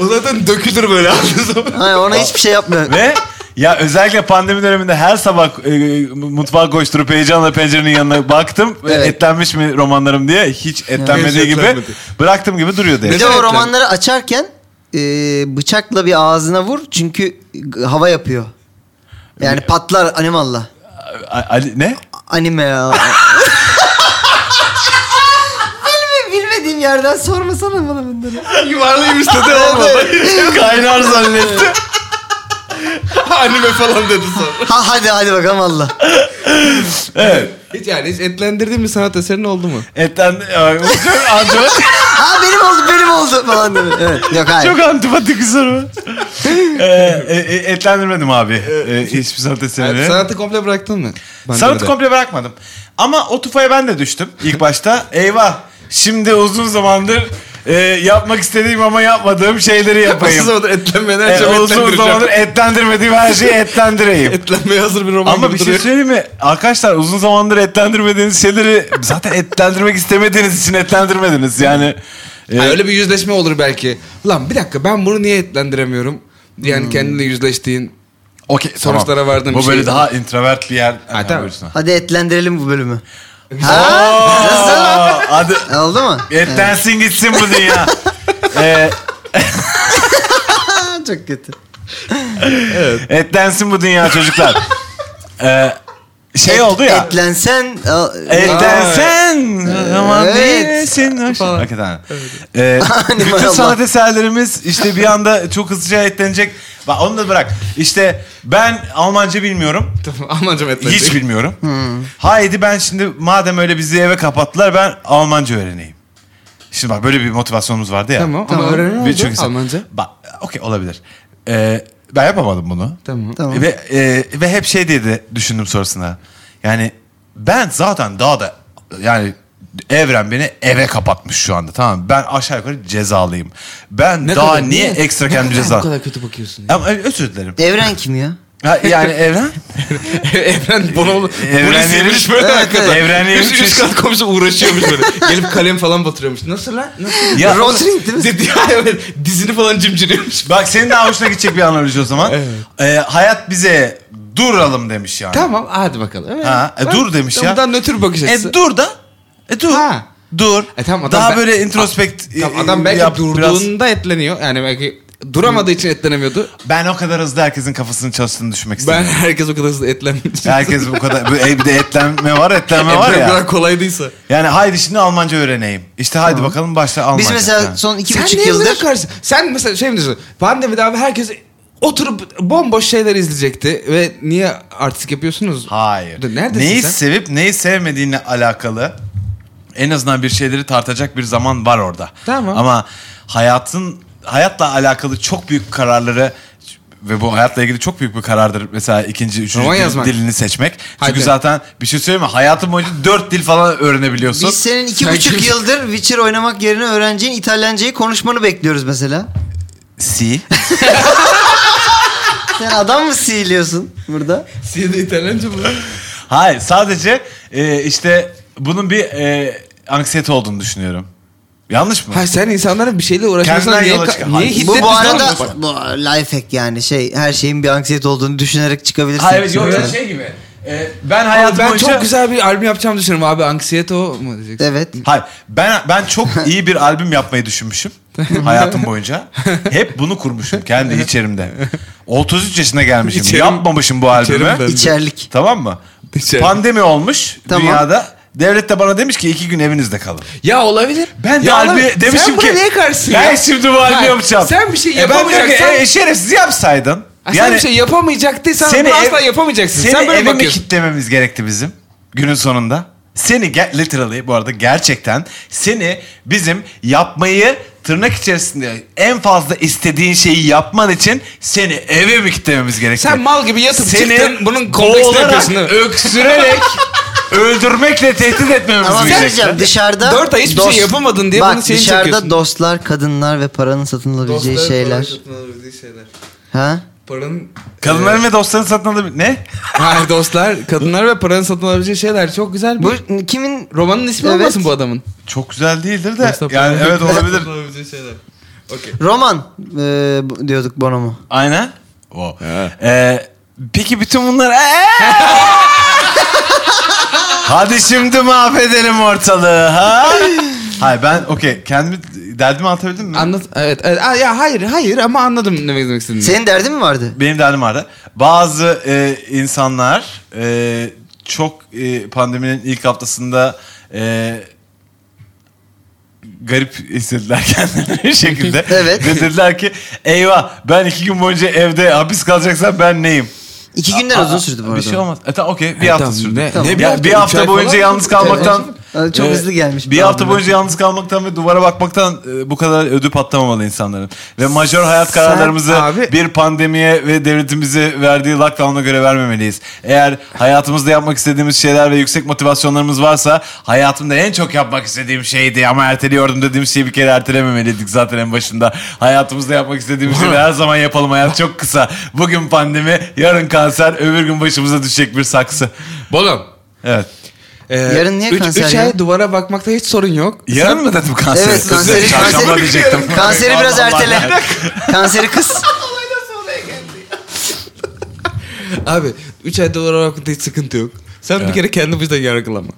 C: O zaten dökülür böyle aldığı zaman.
B: Hayır, ona hiçbir şey yapmıyor.
D: Ve ya özellikle pandemi döneminde her sabah e, mutfağa koşturup heyecanla pencerenin yanına baktım.
B: Evet.
D: Etlenmiş mi romanlarım diye hiç etlenmediği
C: Hiç
D: gibi
C: etlenmedi.
D: bıraktım gibi duruyordu.
B: Bir
D: yani.
B: de o
C: Neden
B: romanları açarken e, bıçakla bir ağzına vur. Çünkü g- hava yapıyor. Yani patlar animalla.
D: A- Ali ne?
B: Anime ya. Bilme, bilmediğim yerden sormasana bana bunları.
C: Yuvarlayayım istedi olmadı.
D: Kaynar zannetti.
C: Anime falan dedi sonra.
B: Ha, hadi hadi bakalım Allah.
C: Hiç yani hiç etlendirdin mi sanat eserin oldu mu?
D: Etten Ay, bu çok antipatik.
B: Ha benim oldu benim oldu falan dedi. Evet, yok hayır.
D: çok antipatik bir soru. Ee, e, e, etlendirmedim abi. Ee, hiçbir sanat eserini.
C: Yani sanatı komple bıraktın mı? Bence
D: Sanatı
C: de.
D: komple bırakmadım. Ama o tufaya ben de düştüm ilk başta. Eyvah şimdi uzun zamandır e, yapmak istediğim ama yapmadığım şeyleri
C: Nasıl
D: yapayım.
C: zamandır etlenmeden
D: E,
C: her şeyi
D: uzun zamandır
C: etlendireceğim.
D: etlendirmediğim her şeyi etlendireyim.
C: Etlenmeye hazır bir roman
D: Ama
C: gibi
D: bir şey
C: duruyor.
D: söyleyeyim mi? Arkadaşlar uzun zamandır etlendirmediğiniz şeyleri zaten etlendirmek istemediğiniz için etlendirmediniz. Yani e,
C: Ha, öyle bir yüzleşme olur belki. Lan bir dakika ben bunu niye etlendiremiyorum?
D: Hmm.
C: Yani kendinle yüzleştiğin.
D: okey,
C: sonuçlara vardım
D: Bu
C: bir
D: böyle
C: şey.
D: daha introvert bir yer.
C: Ha, tamam.
D: buyursun.
B: Hadi etlendirelim bu bölümü. Ha?
D: Aa, hadi
B: Oldu mu?
D: etlensin gitsin bu dünya. Ee,
B: Ha, çok kötü.
D: Etlensin bu dünya çocuklar. ee, şey
B: Et-
D: oldu ya. E.
B: Etlensen. e, al-
D: Etlensen zaman
B: Evet.
D: değilsin. Hoş-
C: Falan.
D: Hakikaten. Ee,
B: Hani
D: bütün
B: Allah.
D: sanat eserlerimiz işte bir anda çok hızlıca etlenecek. Bak onu da bırak. İşte ben Almanca bilmiyorum.
C: Tamam Almancam etlenecek.
D: Hiç bilmiyorum.
B: Hmm.
D: Haydi ben şimdi madem öyle bizi eve kapattılar ben Almanca öğreneyim. Şimdi bak böyle bir motivasyonumuz vardı ya.
C: Tamam, ama
B: Tamam.
C: öğrenen
D: Bir-
C: olacak
D: çünkü sen-
C: Almanca.
D: Bak okey olabilir. Ee, ben yapamadım bunu.
C: Tamam.
B: Tamam.
D: Ve e, ve hep şey diye de düşündüm sonrasında. Yani ben zaten daha da yani evren beni eve kapatmış şu anda tamam mı? Ben aşağı yukarı cezalıyım. Ben
C: Ne
D: daha
C: kadar-
D: niye
C: ne-
D: ekstra
C: ne
D: kendimi
C: kadar
D: ceza...
C: Bu kadar kötü bakıyorsun.
D: Ama ö- özür dilerim.
B: Evren kim ya?
D: Ha, yani evren?
C: Evren bunu
D: Evren
C: polis yemiş
D: yemiş.
C: böyle
B: Evet,
C: hakikaten.
D: evet. Evren yemiş.
C: Üst, üst kat komşu uğraşıyormuş böyle. Gelip kalem falan batırıyormuş. Nasıl lan? Nasıl?
D: Ya-
B: Rosling değil mi?
C: Dedi ya evet. Dizini falan cimciriyormuş.
D: Bak senin daha hoşuna gidecek bir analoji o zaman. Ee, hayat bize duralım demiş yani.
C: Tamam hadi bakalım. Evet.
D: Ha, e,
C: Bak,
D: dur demiş ya.
C: Buradan nötr bakış açısı.
D: E dur da. E dur.
C: Ha.
D: Dur.
C: E tamam, adam
D: daha
C: ben-
D: böyle introspekt.
C: Tamam,
D: e,
C: adam belki
D: yap biraz.
C: durduğunda etleniyor. Yani belki duramadığı için etlenemiyordu.
D: Ben o kadar hızlı herkesin kafasının çalıştığını düşünmek
C: Ben
D: istedim.
C: herkes o kadar hızlı etlenmiş.
D: Herkes bu kadar bu- e, bir de etlenme var, etlenme var
C: O
D: ya.
C: kadar kolaydıysa.
D: Yani haydi şimdi Almanca öğreneyim. İşte haydi bakalım başla Almanca.
B: Biz mesela
D: Ha.
B: son iki
C: Sen
B: buçuk
C: neye
B: yıldır.
C: buna karşı? Sen mesela şey mi diyorsun? Pandemide abi herkes oturup bomboş şeyler izleyecekti ve niye artistik yapıyorsunuz?
D: Hayır.
C: Dur, neredesin
D: neyi
C: sen?
D: sevip neyi sevmediğine alakalı en azından bir şeyleri tartacak bir zaman var orada.
C: Tamam.
D: Ama hayatın hayatla alakalı çok büyük kararları ve bu hayatla ilgili çok büyük bir karardır. Mesela ikinci, üçüncü
C: Roman
D: dil-
C: yazmak.
D: dilini seçmek.
C: Haydi.
D: Çünkü zaten bir şey söyleyeyim mi? Hayatın boyunca dört dil falan öğrenebiliyorsun.
B: Biz senin iki
C: Sen
B: buçuk
C: kimsin?
B: yıldır Witcher oynamak yerine öğrencinin İtalyancayı konuşmanı bekliyoruz mesela.
D: Si.
B: Sen adam mı sihirliyorsun burada?
C: Siz de İtalyanca mı?
D: Hayır sadece e, işte bunun bir e, anksiyete olduğunu düşünüyorum. Yanlış mı?
C: Hayır sen insanların bir şeyle uğraşmasına
D: Kendinden
C: niye,
D: yola
C: ka-
D: çıkan.
C: niye
D: Hayır.
C: hiddet
B: Bu bu arada
C: duyuyorsun?
B: bu life hack yani şey her şeyin bir anksiyete olduğunu düşünerek çıkabilirsin.
D: Hayır evet, yok,
B: Evet.
D: yok, şey gibi.
C: Ee,
D: E, ben
C: Abi
D: hayatım
C: ben
D: boyunca...
C: çok güzel bir albüm yapacağımı düşünüyorum abi. Anksiyete o mu diyeceksin?
B: Evet.
D: Hayır ben ben çok iyi bir albüm yapmayı düşünmüşüm hayatım boyunca. Hep bunu kurmuşum kendi içerimde. 33 yaşına gelmişim.
C: İçerim-
D: Yapmamışım bu albümü.
C: içerimde.
B: İçerlik.
D: Tamam mı?
C: İçerim.
D: Pandemi olmuş
B: Tamam.
D: dünyada. Devlet de bana demiş ki iki gün evinizde kalın.
C: Ya olabilir.
D: Ben de
C: ya
D: albü-
C: olabilir.
D: demişim
C: Sen buna
D: ki,
C: niye karşısın
D: Ben
C: ya?
D: şimdi bu albümü
C: Hayır,
D: yapacağım.
C: sen bir şey
D: E ben diyorum ki,
C: yapamayacaksan-
D: E, şerefsiz yapsaydın.
C: Ha, sen bir şey yapamayacaktıysan
D: seni
C: bunu
D: ev-
C: asla yapamayacaksın.
D: Seni
C: sen böyle
D: eve mi
C: bakıyorsun.
D: kitlememiz gerekti bizim günün sonunda? Seni ge- literally bu arada gerçekten seni bizim yapmayı tırnak içerisinde en fazla istediğin şeyi yapman için seni eve mi kitlememiz gerekti?
C: Sen mal gibi yatıp çıktın bunun kompleksini
D: boğularak,
C: yapıyorsun. değil mi?
D: öksürerek öldürmekle tehdit etmemiz
B: Ama
D: mi
B: bir şey diyeceğim
D: gerekti?
B: dışarıda...
C: Dört ay hiçbir şey yapamadın diye
B: bak,
C: bunu senin
B: dışarıda
C: çekiyorsun.
B: dostlar, kadınlar ve paranın satın alabileceği şeyler. Ha?
C: Paranın...
D: Kadınların ve dostların satın alabil... Ne?
C: Hayır dostlar, kadınlar ve paranın satın alabileceği şeyler çok güzel. bir-
B: Bu kimin...
C: Romanın ismi
B: Evet.
C: olmasın bu adamın.
D: Çok güzel değildir de
C: Mustafa.
D: yani evet olabilir.
C: Olabileceği şeyler. Okey.
B: Roman e, bu- diyorduk Bonomo.
D: Aynen. O. Ee, peki bütün bunlar... Ee! Hadi şimdi mahvedelim ortalığı ha? Hayır ben okey kendimi derdimi anlatabildim mi?
C: Anlat. Evet. evet. Aa, ya hayır, hayır ama anladım ne demek istediğini.
B: Senin derdin mi vardı?
D: Benim derdim vardı. Bazı e, insanlar e, çok e, pandeminin ilk haftasında e, garip hissettiler kendilerini bir şekilde.
B: Evet.
D: Ve dediler ki eyvah ben iki gün boyunca evde hapis kalacaksam ben neyim?
B: İki günden
D: Aa,
B: uzun sürdü bu arada.
D: Bir şey olmaz. E, tamam, okey bir
C: E,
D: hafta
C: tamam,
D: sürdü.
C: ne- Tamam.
D: Ya,
C: ne
D: bir
C: bir
D: hafta,
C: hafta, üç ay falan
D: boyunca
C: mı?
D: yalnız
C: Üç ay
D: kalmaktan...
B: Aa, Çok
D: e,
B: hızlı gelmiş.
D: Bir hafta
B: Abi.
D: boyunca yalnız kalmaktan ve duvara bakmaktan e, bu kadar ödü patlamamalı insanların. Ve majör hayat
C: Sen
D: kararlarımızı
C: abi-
D: bir pandemiye ve devletimizi verdiği lockdown'a göre vermemeliyiz. Eğer hayatımızda yapmak istediğimiz şeyler ve yüksek motivasyonlarımız varsa hayatımda en çok yapmak istediğim şeydi ama erteliyordum dediğim şeyi bir kere ertelememeliydik zaten en başında. Hayatımızda yapmak istediğimiz şeyleri her zaman yapalım. Hayat çok kısa. Bugün pandemi, yarın kanser, öbür gün başımıza düşecek bir saksı.
C: Bolum.
D: Evet.
C: Ee,
B: Yarın niye
C: üç-
B: kanser
C: üç
B: ya?
C: ay duvara bakmakta hiç sorun yok.
D: Yarın mı dedim kanser?
B: Evet kanseri,
D: Çarşamba
B: kanseri,
D: diyecektim.
B: kanseri biraz
D: Allah Allah.
B: ertele. kanseri kız.
C: Abi 3 ay duvara bakmakta hiç sıkıntı yok. Sen bir kere kendi başına yargılama.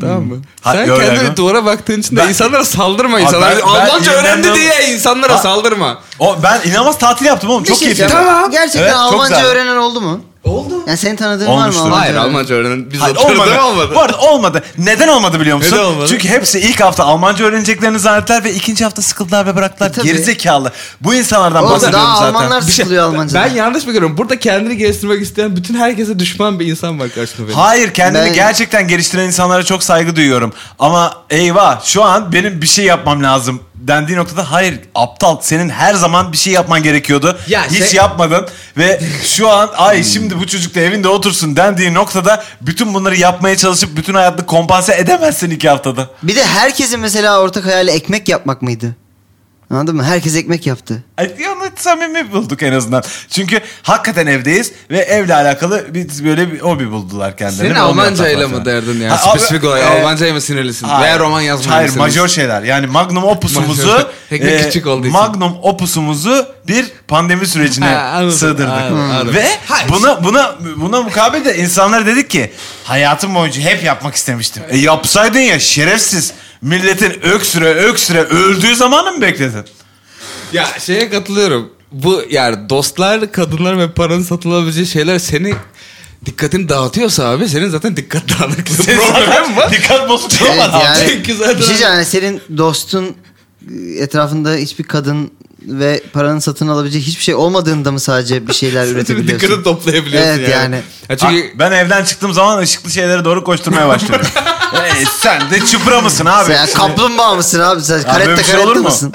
C: Tamam mı?
D: Hmm. Ha,
C: Sen
D: yok,
C: kendini
D: yargı-
C: duvara baktığın için de
D: Ben-
C: insanlara saldırma.
D: Abi
C: insanlar
D: ben- ben
C: Almanca öğrendi
D: inanılmaz-
C: diye insanlara
D: Ha-
C: saldırma.
D: O, ben inanılmaz tatil yaptım oğlum. Çok keyifli.
B: söyleyeceğim.
C: Tamam.
B: şey Gerçekten
D: Evet, çok
B: Almanca
D: güzel.
B: öğrenen oldu mu?
C: Oldu.
B: Yani senin tanıdığın
D: Olmuştur.
B: var mı?
C: Hayır
B: öğrenen?
C: Almanca öğrenen biz
D: Hayır,
C: oturduk
D: olmadı.
C: olmadı.
D: Bu arada olmadı. Neden olmadı biliyor musun?
C: Neden olmadı?
D: Çünkü hepsi ilk hafta Almanca öğreneceklerini zannettiler ve ikinci hafta sıkıldılar ve bıraktılar.
B: E, tabii.
D: Gerizekalı. Bu insanlardan
B: Oğlum,
D: bahsediyorum
B: daha
D: zaten.
B: Almanlar sıkılıyor Almanca'da.
C: şey- Ben yanlış mı görüyorum? Burada kendini geliştirmek isteyen bütün herkese düşman bir insan var karşında benim.
D: Hayır kendini
B: Ben-
D: gerçekten geliştiren insanlara çok saygı duyuyorum. Ama eyvah şu an benim bir şey yapmam lazım dendiği noktada hayır aptal senin her zaman bir şey yapman gerekiyordu.
C: Ya
D: Hiç
C: şey-
D: yapmadın ve şu an ay şimdi bu çocuk da evinde otursun dendiği noktada bütün bunları yapmaya çalışıp bütün hayatını kompanse edemezsin iki haftada.
B: Bir de herkesin mesela ortak hayali ekmek yapmak mıydı? Anladın mı? Herkes ekmek yaptı.
D: Ay, Onu samimi bulduk en azından. Çünkü hakikaten evdeyiz ve evle alakalı bir, böyle bir hobi buldular kendilerine.
C: Senin
D: Ve onu
C: Almancayla
D: yaptılar
C: mı
D: falan.
C: derdin
D: Ha,
C: ya?
D: abi-
C: Spesifik olarak
D: e,
C: Almancaya mı sinirlisin?
D: Hayır.
C: Veya roman yazmaya
D: Hayır
C: mısınız?
D: majör şeyler. Yani magnum opusumuzu e,
C: Majör. Teknik küçük olduğu için.
D: magnum opusumuzu bir pandemi sürecine
C: Ha, anladım,
D: sığdırdık.
C: anladım,
D: Hmm.
C: anladım.
D: Ve
C: Hayır.
D: buna buna buna mukabil de insanlara dedik ki hayatım boyunca hep yapmak istemiştim. E yapsaydın ya şerefsiz. Milletin öksüre öksüre öldüğü zamanı mı bekledin?
C: Ya şeye katılıyorum. Bu yani dostlar, kadınlar ve paranın satılabileceği şeyler seni dikkatini dağıtıyorsa abi senin zaten dikkat dağınıklığı problem var.
D: Dikkat bozukluğu
B: Evet,
D: var abi.
B: yani,
C: Çünkü zaten-
B: bir şey diyeceğim, yani senin dostun e, etrafında hiçbir kadın ve paranın satın alabileceği hiçbir şey olmadığında mı sadece bir şeyler
C: Senin
B: üretebiliyorsun?
C: dikkatini toplayabiliyorsun
B: Evet, yani.
C: Ya çünkü
D: ben evden çıktığım zaman ışıklı şeylere doğru koşturmaya başladım. Ey, sen de çıpra mısın abi?
B: Sen kaplumbağa mısın abi? Sen
D: böyle
B: karetta
D: bir şey olur
B: karetta
D: mu?
B: mısın?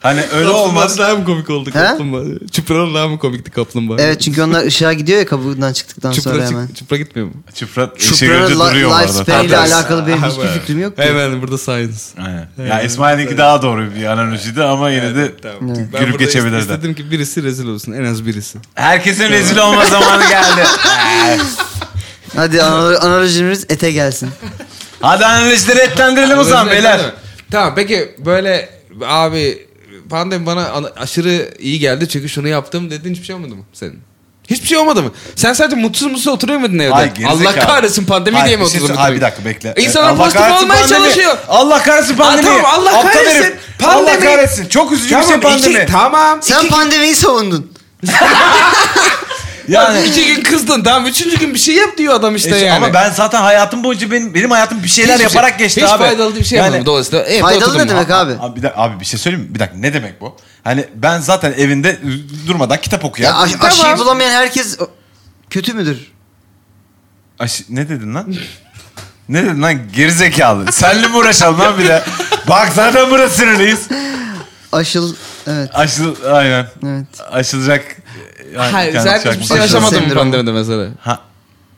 D: Hani öyle
C: Kaplumbağa
D: olmaz.
C: daha mı komik oldu kaplumbağa? Çıpranın daha mı komikti kaplumbağa?
B: Evet çünkü onlar ışığa gidiyor ya kabuğundan çıktıktan sonra
C: Çıpra,
B: hemen.
C: çık, çıpra gitmiyor mu?
D: Çıpra işe görünce şey duruyor
B: Çupra'nın
D: bu
B: li-
D: arada.
B: lifespan ile
D: Hatta-
B: alakalı benim
C: Ha,
B: hiçbir
C: evet.
B: fikrim yok. ki.
C: Hemen burada science.
D: Aynen. Ya İsmail'inki daha doğru bir analojiydi ama yine de
C: Ben
D: gülüp
C: burada
D: geçebilirdi.
C: istedim ki birisi rezil olsun en az birisi.
D: Herkesin rezil olma zamanı geldi.
B: Hadi analo- analojimiz ete gelsin.
D: Hadi analizleri etlendirelim o zaman
C: Özellikle
D: beyler.
C: değil mi? Tamam peki böyle abi pandemi bana ana- aşırı iyi geldi çünkü şunu yaptım dedin hiçbir şey olmadı mı senin? Hiçbir şey olmadı mı? Sen sadece mutsuz mutsuz oturuyor muydun evde?
D: Ay, gerizekalı.
C: Allah kahretsin pandemi
D: Ay,
C: diye mi
D: bir şey
C: oturdun?
D: sor-
C: oturuyor?
D: Ay, bir dakika bekle.
C: İnsanlar
D: Allah
C: pozitif
D: kahretsin
C: olmaya
D: pandemi.
C: çalışıyor.
D: Allah kahretsin pandemi.
C: Aa, tamam, Allah
D: Aptal
C: kahretsin.
D: herif.
C: Pandemi.
D: Allah kahretsin. Çok üzücü bir şey pandemi.
C: Iki, tamam.
B: Sen
C: iki,
B: pandemiyi savundun.
D: yani
C: iki gün kızdın. Tamam üçüncü gün bir şey yap diyor adam işte
D: İşte
C: yani.
D: E, Ama ben zaten hayatım boyunca benim benim hayatım bir şeyler
C: Hiçbir şey-
D: yaparak geçti
C: hiç
D: abi.
C: faydalı bir şey
D: Yani-
C: yapmadım dolayısıyla. evde
B: Faydalı
C: oturdum.
B: ne demek abi?
D: Abi bir, dakika, abi bir şey söyleyeyim mi? Bir dakika ne demek bu? Hani ben zaten evinde durmadan kitap okuyan.
B: Ya aş- aşıyı bulamayan herkes o- kötü müdür?
D: Aş- ne dedin lan? ne dedin lan gerizekalı? Senle mi uğraşalım lan bir de? Bak zaten burası sinirliyiz.
B: Aşıl evet.
D: Aşıl, aynen.
B: Evet.
D: Aşılacak. e, yani
C: Hayır
D: kendisi
C: sen hiçbir
D: yakmış.
C: şey
B: Aşırı
C: yaşamadın mı
B: sendromu.
C: pandemide mesela?
D: Ha,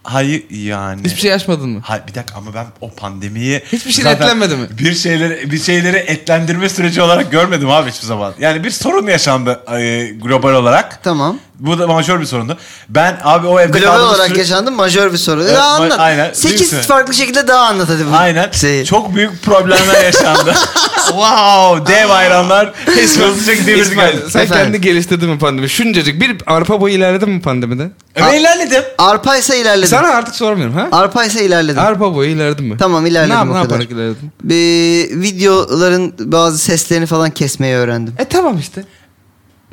D: hayır yani.
C: Hiçbir şey yaşmadın mı?
D: Hayır bir dakika ama ben o pandemiyi
C: Hiçbir şey
D: zaten
C: etlenmedi mi?
D: Bir şeyleri bir şeyleri etlendirme süreci olarak görmedim abi hiçbir zaman. Yani bir sorun yaşandı e, global olarak.
B: Tamam.
D: Bu da majör bir sorundu. Ben abi o evde
B: Global
D: kaldığımız
B: olarak
D: süre-
B: yaşandı majör bir soru.
D: Evet,
B: Daha
D: ma-
B: anlat.
D: aynen.
B: Sekiz
D: Büyük-
B: farklı şekilde daha anlat hadi. bu
D: Aynen.
C: şey.
B: Şeyi.
D: Çok büyük problemler yaşandı. wow, dev hayranlar. Hiç hızlıca gidebildik.
C: İsmail, sen
B: Efendim?
C: kendi geliştirdin mi pandemi? Şuncacık bir arpa boyu ilerledin mi pandemide?
D: Ben ilerledim.
B: Arpa ise ilerledim.
C: Sana artık sormuyorum ha?
B: Arpa ise ilerledim.
C: Arpa boyu ilerledin mi?
B: Tamam, ilerledim
C: ne, yap-
B: o
C: Ne
B: kadar.
C: yaparak ilerledin?
B: Bir videoların bazı seslerini falan kesmeyi öğrendim.
C: E tamam işte.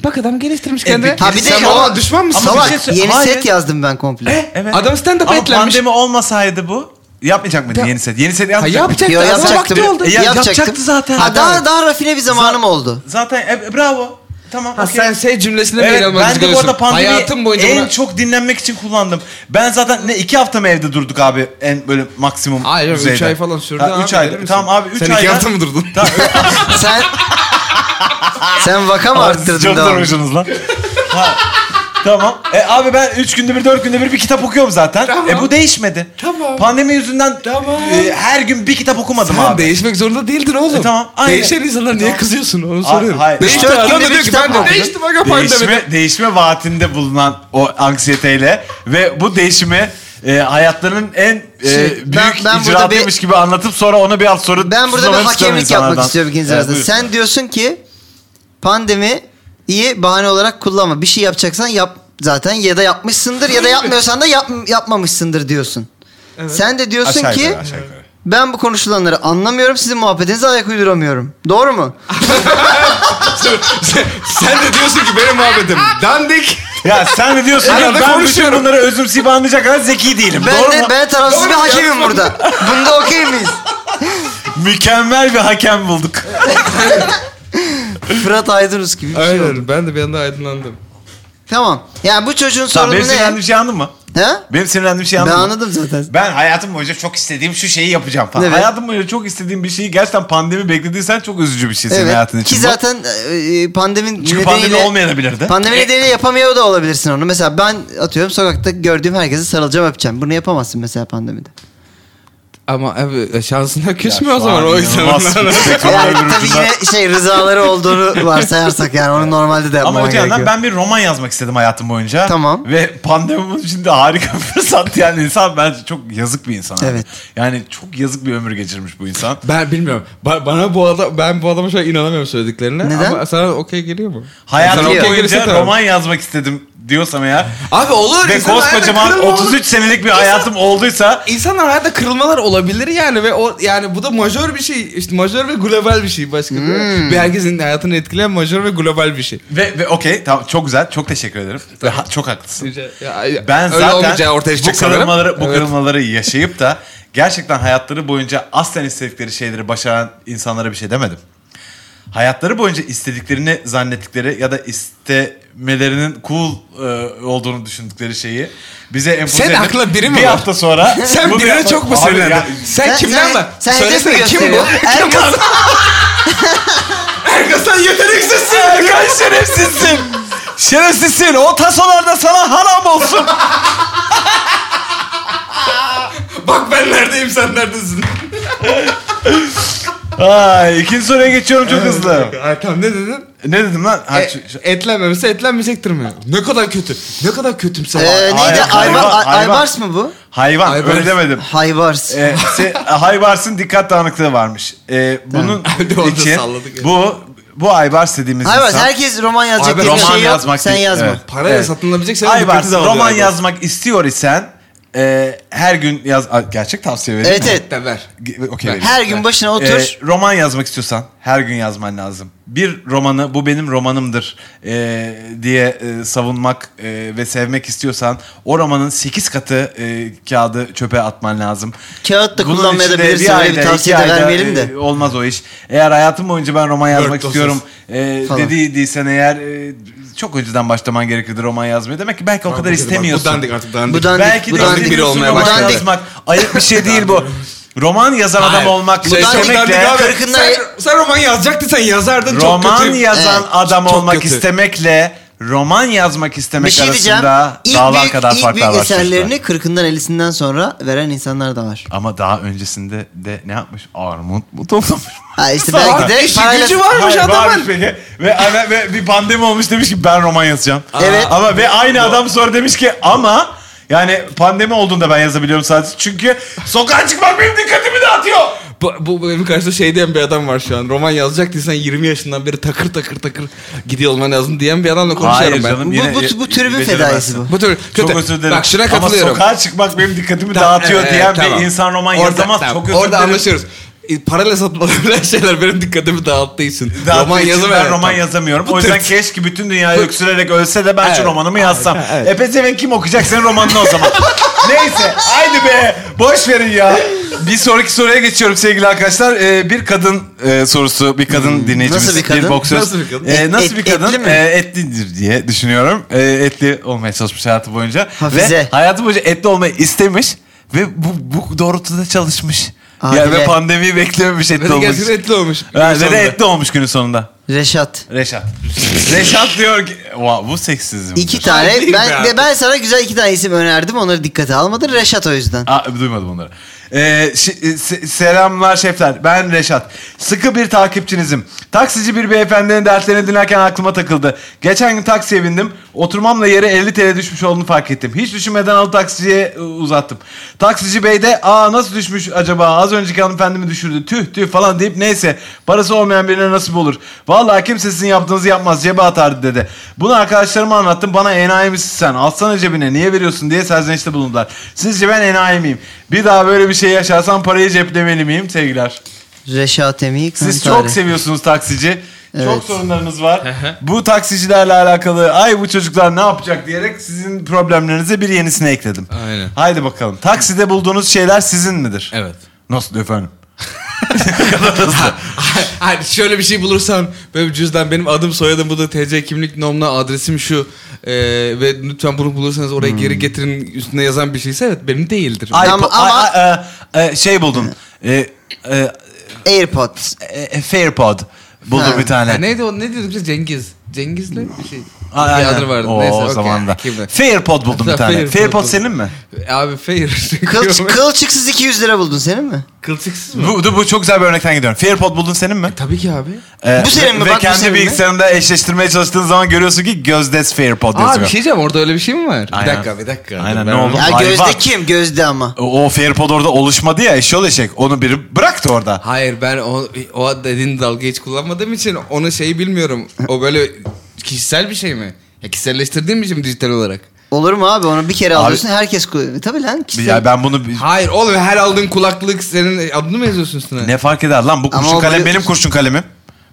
C: Bak adam geliştirmiş
D: E,
C: kendini.
D: peki
B: Ha bir de
D: Sen
B: o-
D: bana
C: düşman mısın?
D: Ama
B: Salak,
D: bir şey sö-
B: yeni
D: Hayır.
B: set yazdım ben komple.
D: Evet.
C: Adam stand-up
D: Ama
C: etlenmiş.
D: pandemi olmasaydı bu Yapmayacak mıydın
C: Ya-
D: yeni set? Yeni set
C: Ha,
D: yapmayacak mıydın?
C: yapacaktı.
B: Yo,
C: aslında
B: yapacaktım.
C: vakti oldu.
D: E, ya-
B: Yapacaktım.
D: yapacaktı zaten.
B: Ha, daha, daha rafine bir zamanım oldu.
D: Zaten e, e, bravo. Tamam
C: Ha,
D: okey.
C: sen şey cümlesine mail
D: Evet,
C: almanızı
D: ben de bu arada
C: görüyorsun.
D: pandemi
C: Hayatım boyunca
D: en
C: buna-
D: çok dinlenmek için kullandım. Ben zaten ne iki hafta mı evde durduk abi en böyle maksimum
C: Hayır, üç
D: düzeyde.
C: ay falan sürdü abi,
D: 3
C: bilir
D: ay.
C: misin?
D: Tamam abi 3
C: Sen
D: ayda.
C: iki hafta mı durdun?
D: Tamam,
B: Sen sen vaka mı
D: Aa, siz
B: arttırdın
D: Çok
B: daha?
D: durmuşsunuz lan. Ha, tamam. E abi ben 3 günde bir 4 günde bir bir kitap okuyorum zaten. E bu değişmedi.
C: Tamam.
D: Pandemi yüzünden e, her gün bir kitap okumadım
C: Tamam
D: abi.
C: değişmek zorunda değildin oğlum.
D: E, tamam, aynen.
C: Değişen insanlar niye
D: Tamam.
C: kızıyorsun onu
D: Hayır,
C: soruyorum.
D: hayır.
C: Değişti
B: Dört
C: adam
B: günde
C: da
B: bir
C: diyor ki
B: kitap
C: ben de
B: okudum.
C: değiştim aga pandemide.
D: değişme, değişme vaatinde bulunan o anksiyeteyle ve bu değişimi e, hayatlarının en e,
B: Şimdi ben-
D: büyük
B: ben burada
D: icraatıymış gibi anlatıp sonra onu bir alt soru
B: Ben burada bir
D: sormak istiyorum
B: hakemlik yapmak
D: insanlardan.
B: istiyorum ikinci
D: Evet,
B: arasında.
D: buyur.
B: Sen diyorsun ki pandemi iyi bahane olarak kullanma. Bir şey yapacaksan yap zaten ya da yapmışsındır ya da yapmıyorsan da yap, yapmamışsındır diyorsun. Sen de diyorsun
D: Aşağı
B: ki
D: yukarı, aşağı yukarı.
B: ben bu konuşulanları anlamıyorum sizin muhabbetinize ayak uyduramıyorum. Doğru mu?
C: Sen de diyorsun ki benim muhabbetim dandik.
D: Ya sen de diyorsun ki
C: Arada
D: ben bütün
C: konuşuyorum.
D: bunları özümseyip anlayacak kadar zeki değilim.
B: Ben
D: Doğru
B: de
D: mu?
B: ben tarafsız
C: Doğru
B: bir
C: mu ya?
B: hakemim burada. Bunda okey miyiz?
D: Mükemmel bir hakem bulduk.
B: Fırat Aydınus gibi bir şey oldu.
C: Aynen ben de bir anda aydınlandım.
B: Tamam. Yani bu çocuğun
D: Tamam, benim
B: sorunu ne?
D: sinirlendiğim şey anladın mı?
B: Ha?
D: Benim sinirlendiğim şey
B: Ben
D: anladın mı?
B: anladım zaten.
D: Ben hayatım boyunca çok istediğim şu şeyi yapacağım falan.
B: Evet.
D: Hayatım boyunca çok istediğim bir şeyi gerçekten pandemi beklediysen çok üzücü bir şey senin
B: Evet.
D: hayatın için.
B: Ki
D: bu.
B: zaten e, pandeminin
D: Çünkü pandemi
B: nedeniyle
D: olmayabilirdi.
B: Pandemi
D: e-
B: nedeniyle yapamıyor da olabilirsin onu. Mesela ben atıyorum sokakta gördüğüm herkese sarılacağım öpeceğim. Bunu yapamazsın mesela pandemide.
C: Ama abi e, şansına küsme
D: Ya
C: o
D: şu
C: zaman
D: an
C: o
D: inanılmaz.
C: insanlar.
B: Yani
D: Öbür
B: tabii
D: ucundan-
B: yine şey rızaları olduğunu varsayarsak yani onu normalde de
D: Ama
B: yapman
D: öte yandan
B: gerekiyor.
D: ben bir roman yazmak istedim hayatım boyunca.
B: Tamam.
D: Ve pandemi bunun için de harika bir fırsat. Yani insan bence çok yazık bir insan. abi.
B: Evet.
D: Yani çok yazık bir ömür geçirmiş bu insan.
C: Ben bilmiyorum. Ba- bana bu adam ben bu adama şu an inanamıyorum söylediklerine.
B: Neden?
C: Ama sana okey geliyor mu?
D: Hayatım
C: Sana okey gelirse
D: boyunca
C: tamam.
D: roman yazmak istedim diyorsam eğer.
C: Abi olur.
D: Ve
C: insanlar hayata
D: koskocaman
C: kırılma olur.
D: 33 senelik bir hayatım olduysa
C: İnsanlar hayata kırılmalar olabilir yani ve o yani bu da majör bir şey. İşte majör ve global bir şey başka.
D: Hmm.
C: Bir herkesin hayatını etkileyen majör ve global bir şey.
D: ve, ve okey tamam çok güzel çok teşekkür ederim. Ve ha- çok haklısın. Ben
C: Ben Öyle
D: zaten
C: olmayacağı ortaya
D: bu
C: çıkacak sanırım.
D: kırılmaları, bu
C: Evet.
D: kırılmaları yaşayıp da gerçekten hayatları boyunca aslen istedikleri şeyleri başaran insanlara bir şey demedim. Hayatları boyunca istediklerini zannettikleri ya da istemelerinin cool e, olduğunu düşündükleri şeyi bize empoze
C: Sen
D: edip
C: aklına biri mi
D: bir
C: var?
D: hafta sonra
C: Sen
D: bunu
C: birine
D: yapma-
C: çok mu
D: Abi ya-
C: sinirlendin? Sen kimden
B: sen-
C: var?
B: sen hedef mi
C: Söylesene kim bu?
B: gösteriyor? Erkan.
D: Er-
C: Erkan sen yeteneksizsin.
D: Erkan şerefsizsin. Şerefsizsin. O tasolarda sana haram olsun.
C: Bak ben neredeyim sen neredesin?
D: Ay, ikinci soruya geçiyorum çok hızlı.
C: Erkan ne dedin?
D: Ne dedim lan? Ha, şu- şu-
C: E, etlenmemişse etlenmeyecektir mi? Ne kadar kötü. şey. Ne kadar kötümser.
B: Ee, neydi?
D: Hayvan,
B: Aybar,
D: hayvan,
B: Ay-
D: hayvan.
B: Aybars mı bu?
D: hayvan.
C: Ay, ben-
D: Öyle demedim.
B: Haybars.
D: e, se, Aybars'ın dikkat dağınıklığı varmış. E, bunun
C: Hadi orada
D: için
C: salladık ya.
D: bu bu Aybars dediğimiz
B: Haybars
D: insan.
B: herkes roman yazacak
C: Aybars
B: diye bir
D: roman
B: şey yok.
D: yazmak
B: Sen
D: değil,
B: yazma.
D: evet.
C: Parayla
D: Evet.
C: satılabilecek şeyler
D: Aybars
C: dikkati dağılıyor
D: roman
C: abi.
D: yazmak istiyor isen e, her gün yaz A, gerçek tavsiye vereyim.
B: Evet
D: mi?
B: evet.
C: De ver.
D: Ge- Okey. vereyim.
B: Her gün başına otur.
D: E, roman yazmak istiyorsan her gün yazman lazım. Bir romanı bu benim romanımdır e, diye e, savunmak e, ve sevmek istiyorsan o romanın 8 katı e, kağıdı çöpe atman lazım.
B: Kağıt da
D: Bunun
B: kullanmaya da
D: içinde
B: bilirsin, öyle bir
D: ayda,
B: tavsiye
D: iki
B: de
D: ayda,
B: vermeyelim de.
D: e, Olmaz o iş. Eğer hayatım boyunca ben roman yazmak
C: dosyası.
D: istiyorum e,
B: Falan.
D: dediysen eğer e, çok önceden başlaman gerekirdi roman yazmaya. Demek ki belki o kadar istemiyorsun.
C: Bu dandik artık dandik.
B: Bu dandik.
D: Belki de
B: bu dandik.
D: istediğin
C: biri olmaya
D: roman
B: başladı.
D: yazmak ayıp bir şey değil bu. Roman yazan adam
C: Hayır.
D: olmak
C: Şey,
B: dandik,
C: çok dandik
D: istemekle
C: abi.
B: Kırkında-
C: Sen, sen roman yazacaktın sen yazardın çok
D: roman
C: kötü.
D: yazan
B: Evet.
D: adam
C: Çok
D: olmak
C: kötü.
D: istemekle roman yazmak
B: Bir
D: istemek
B: şey diyeceğim.
D: arasında
B: İlk
D: dağlar
B: büyük,
D: kadar
B: ilk
D: farklar
B: büyük
D: var.
B: eserlerini
D: çocuklar.
B: 40'ından 50'sinden sonra veren insanlar da var.
D: Ama daha öncesinde de ne yapmış? Armut mu toplamış?
B: Ha işte
C: Var,
B: belki de
C: işi
B: parayla-
C: şey gücü varmış
D: Hayır,
C: adamın.
D: varmış peki. Ve, ve, ve bir pandemi olmuş demiş ki ben roman yazacağım.
B: Evet.
D: Ama ve aynı adam sonra demiş ki ama yani pandemi olduğunda ben yazabiliyorum sadece. Çünkü sokağa çıkmak benim dikkatimi dağıtıyor.
C: Bu, bu benim karşımda şey diyen bir adam var şu an. Roman yazacaktın sen 20 yaşından beri takır takır takır gidiyor olman lazım diyen bir adamla konuşuyorum ben.
B: Bu- bu- bu tribün
D: beceremezsin.
B: fedaisi bu.
C: Bu tür kötü.
D: Çok özür dilerim.
C: Bak şuna katılıyorum.
D: Ama sokağa çıkmak benim dikkatimi
C: Tamam,
D: dağıtıyor
C: evet,
D: diyen bir
C: tamam.
D: insan roman
C: Orada-
D: yazamaz.
C: tamam,
D: Çok özür
C: Orada
D: dilerim.
C: anlaşıyoruz. e, parayla satın alınabilen şeyler benim dikkatimi dağıttığı için.
D: Dağıttığı
C: roman
D: için
C: yazamıyorum.
D: Ben roman yazamıyorum.
C: Bu
D: o yüzden
C: tırt.
D: keşke bütün dünyayı öksürerek ölse de ben şu
C: Evet.
D: romanımı yazsam.
C: evet.
D: E pezevenk kim okuyacak senin romanını o zaman? Neyse haydi be boş verin ya. Bir sonraki soruya geçiyorum sevgili arkadaşlar. Ee, bir kadın e, sorusu, bir kadın dinleyicimiz,
B: Nasıl bir kadın?
D: boksör.
C: Nasıl bir kadın?
D: Ee, nasıl
B: Et-
D: bir kadın?
B: etli mi?
D: Ee, etlidir diye düşünüyorum. Ee, etli olmaya çalışmış hayatı boyunca.
B: Hafize.
D: Ve hayatı boyunca etli olmayı istemiş ve bu, bu doğrultuda çalışmış. Yani
B: Adile.
D: ve pandemiyi beklememiş
C: Ve
D: etli
C: de
D: olmuş.
C: gerçekten etli olmuş.
D: Ha, Ve
C: Sonunda.
D: de etli olmuş günün sonunda.
B: Reşat.
D: Reşat. Reşat diyor ki... Wow, bu seksizm.
B: İki tane.
C: değil be
B: Ben,
C: artık.
B: ve ben sana güzel iki tane isim önerdim. Onları dikkate almadın. Reşat o yüzden.
D: Aa, duymadım onları. Ee, şi- e, se- selamlar şefler. Ben Reşat. Sıkı bir takipçinizim. Taksici bir beyefendinin dertlerini dinlerken aklıma takıldı. Geçen gün taksiye bindim. Oturmamla yere 50 TL düşmüş olduğunu fark ettim. Hiç düşünmeden alıp taksiciye e, uzattım. Taksici bey de aa nasıl düşmüş acaba? Az önceki hanımefendimi düşürdü. Tüh tüh falan deyip neyse parası olmayan birine nasip olur. Vallahi kimse sizin yaptığınızı yapmaz cebe atardı dedi. Bunu arkadaşlarıma anlattım bana enayi misin sen? Alsana cebine niye veriyorsun diye serzenişte bulundular. Sizce ben enayi miyim? Bir daha böyle bir şey yaşarsam parayı ceplemeli miyim sevgiler?
B: Reşat Emi.
D: Siz
B: Kantare.
D: çok seviyorsunuz taksici. Çok
B: Evet.
D: sorunlarınız var. bu taksicilerle alakalı ay bu çocuklar ne yapacak diyerek sizin problemlerinize bir yenisini ekledim.
C: Aynen.
D: Haydi bakalım. Takside bulduğunuz şeyler sizin midir?
C: Evet.
D: Nasıl efendim?
C: Hayır şöyle bir şey bulursam böyle bir cüzdan benim adım soyadım bu da TC kimlik nomla adresim şu Ee, ve lütfen bunu bulursanız oraya geri getirin üstüne yazan bir şeyse evet benim değildir.
D: Hmm. Ay,
B: Ama-
D: po- ay-
B: ama-
D: ay- ay- ay, şey buldum. E, e,
B: AirPods.
D: e, e, Fairpod buldum
B: Ha.
D: bir tane.
C: Ya neydi o ne diyorduk biz Cengiz. Cengiz'le bir şey.
D: Aa,
C: bir
D: aynen.
C: adı vardı.
D: Oo,
C: Neyse,
D: o
C: okey.
D: zaman da.
C: Kimdi?
D: Fairpod buldum bir
C: Ha,
D: tane.
C: Fairpod
D: Fairpod
C: buldum.
D: senin mi?
C: Abi fair.
B: Kılç, kılçıksız 200 lira buldun senin mi?
C: Kılçıksız mı?
D: Bu, dur, bu çok güzel bir örnekten gidiyorum. Fairpod buldun senin mi?
C: Tabii ki abi.
D: Ee,
B: Bu senin mi?
D: Ve
B: Bak bu
D: kendi
B: senin mi?
D: bilgisayarında eşleştirmeye çalıştığın zaman görüyorsun ki Gözdez Fairpod
C: Aa
D: yazıyor.
C: bir şey diyeceğim orada öyle bir şey mi var?
D: Aynen.
C: Bir dakika bir dakika.
D: Aynen,
C: Ben-
D: ne oldu?
B: Ya
D: Hayvan.
B: Gözde kim? Gözde ama.
D: O, o Fairpod orada oluşmadı ya eşyol eşek. Onu biri bıraktı orada.
C: Hayır ben o, o dediğin dalga hiç kullanmadığım için onu şeyi bilmiyorum. O böyle kişisel bir şey mi? Ya kişiselleştirdiğim için mi dijital olarak?
B: Olur mu abi? Onu bir kere
D: Abi-
B: alıyorsun. Herkes kullanıyor. Tabii lan. kişisel-
D: Ya ben bunu
C: Hayır oğlum her aldığın kulaklık senin e, adını mı yazıyorsun üstüne?
D: ne fark eder lan bu
B: Ama
D: kurşun
B: o
D: kalem
B: böyle-
D: benim kurşun kalemim.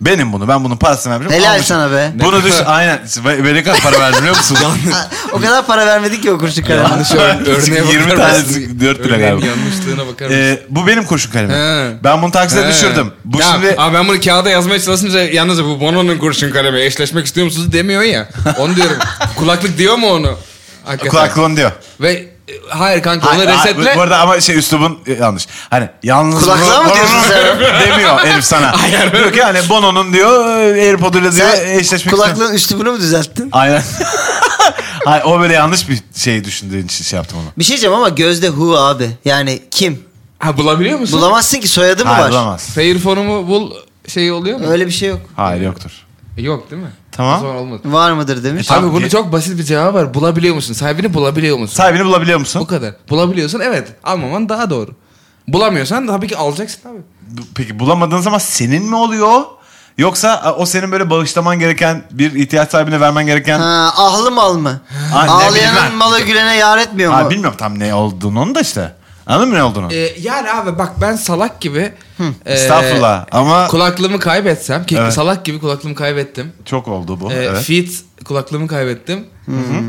D: Benim bunu. Ben bunun parasını vermişim.
B: Helal
D: almışım.
B: sana be.
D: Bunu düş. Aynen. Beni kaç para verdim biliyor musun?
B: Ha, o kadar para vermedik ki o kurşun kalemine.
C: Yanlış ör- örneğe
D: 20
C: bakar
D: tanesi
C: mısın?
D: dört lira
C: Örneğin
D: galiba.
C: yanlışlığına bakar mısın?
D: Ee, bu benim kurşun kalemim.
C: He.
D: Ben bunu takside
C: He.
D: düşürdüm. Bu
C: Ya,
D: şimdi
C: Abi ben bunu kağıda yazmaya çalışınca yalnızca bu Bono'nun kurşun kalemi eşleşmek istiyor musunuz demiyor ya. Onu diyorum. Kulaklık diyor mu onu? Hakikaten.
D: kulaklığın diyor.
C: Ve e, hayır kanka
D: Ay,
C: onu
D: ay,
C: resetle.
D: Bu arada ama şey üslubun e, yanlış. Hani yalnız
B: Kulaklığa mı diyorsun sen?
D: demiyor Elif sana. diyor ki hani Bono'nun diyor AirPod'uyla diyor eşleşmek istiyorum.
B: kulaklığın üstü bunu mu düzelttin?
D: Aynen. Hayır, o böyle yanlış bir şey düşündüğün için şey yaptım onu.
B: Bir şey diyeceğim ama Gözde Hu abi. Yani kim?
C: Ha bulabiliyor musun?
B: Bulamazsın ki soyadı mı
D: Hayır
B: var?
D: bulamaz.
C: Fair fonumu bul şey oluyor mu? E,
B: Öyle bir şey yok.
D: Hayır yoktur.
C: Yok değil mi?
D: Tamam.
C: O zaman olmadı.
B: Var mıdır demiş.
D: Tamam,
C: Abi bunun
D: ge-
C: çok basit bir cevabı var. Bulabiliyor musun? Sahibini bulabiliyor musun?
D: Sahibini bulabiliyor musun?
C: Bu kadar. Bulabiliyorsan evet. Almaman daha doğru. Bulamıyorsan tabii ki alacaksın abi.
D: Bu- Peki bulamadığın zaman senin mi oluyor? Yoksa e, o senin böyle bağışlaman gereken bir ihtiyaç sahibine vermen gereken
B: Ha, ahlı mal mı?
D: Ha, ne bileyim
B: Ağlayanın
D: ben.
B: malı gülene yar etmiyor
D: Ha,
B: mu?
D: bilmiyorum tam ne olduğunu onu da işte. Anladın mı ne olduğunu?
C: Ee, yani abi bak ben salak gibi e,
D: Estağfurullah ama
C: kulaklığımı kaybetsem ki
D: Evet.
C: salak gibi kulaklığımı kaybettim.
D: çok oldu bu.
C: Ee,
D: evet.
C: Fit kulaklığımı kaybettim.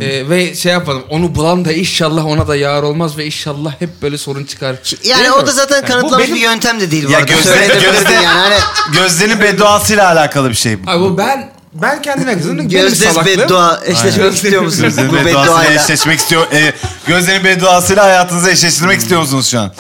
C: Ee, ve şey yapmadım. Onu bulan da inşallah ona da yar olmaz ve inşallah hep böyle sorun çıkar.
B: Yani
C: Değil
B: o
C: mi?
B: da zaten
C: bu
B: kanıtlanmış
C: benim-
B: bir yöntem de değil bu
D: Ya
B: arada.
D: Gözde-
B: Söyledim,
D: Gözde-
B: söyledim yani hani
D: Gözde'nin bedduasıyla alakalı bir şey bu.
C: Abi bu ben ben kendime kızdım. Benim
B: Gözde
C: salaklığım.
B: beddua eşleşmek
C: Aynen.
B: istiyor musunuz
D: Gözde'nin
B: bu
D: bedduasıyla
B: bedduayla?
D: eşleşmek istiyor. E, Gözde'nin bedduasıyla hayatınızı eşleştirmek istiyor musunuz şu an?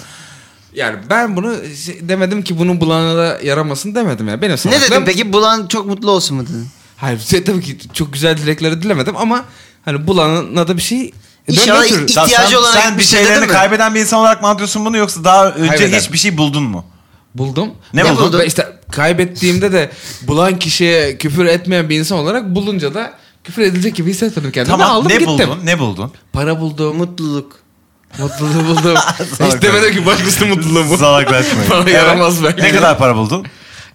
C: Yani ben bunu şey- demedim ki bunun bulana da yaramasın demedim ya. Benim
B: Ne
C: salaklığım.
B: dedin peki? Bulan çok mutlu olsun mu dedin?
C: Hayır şey, tabii ki çok güzel dilekleri dilemedim ama hani bulana da bir şey
B: İnşallah
C: dönmeye çalışırım.
B: ilk- İhtiyacı
D: sen,
B: olan
D: sen bir
B: bir şey
D: şeylerini
B: dedin mi?
D: kaybeden bir insan olarak mı anlatıyorsun bunu yoksa daha önce
C: Kaybeden.
D: hiçbir şey buldun mu?
C: Buldum.
D: Ne
C: Ben-
D: buldun?
C: ben işte kaybettiğimde de bulan kişiye küfür etmeyen bir insan olarak bulunca da küfür edilecek gibi hissetmedim kendimi.
D: Tamam
C: aldım
D: ne
C: gittim.
D: buldun? Ne buldun?
C: Para buldum.
B: Mutluluk.
C: Mutluluğu buldum.
D: Salak.
C: Hiç demedim ki başkasının mutluluğu bu.
D: Salaklaşmayın.
C: Bana yaramaz belki. e,
D: Ne kadar para buldun?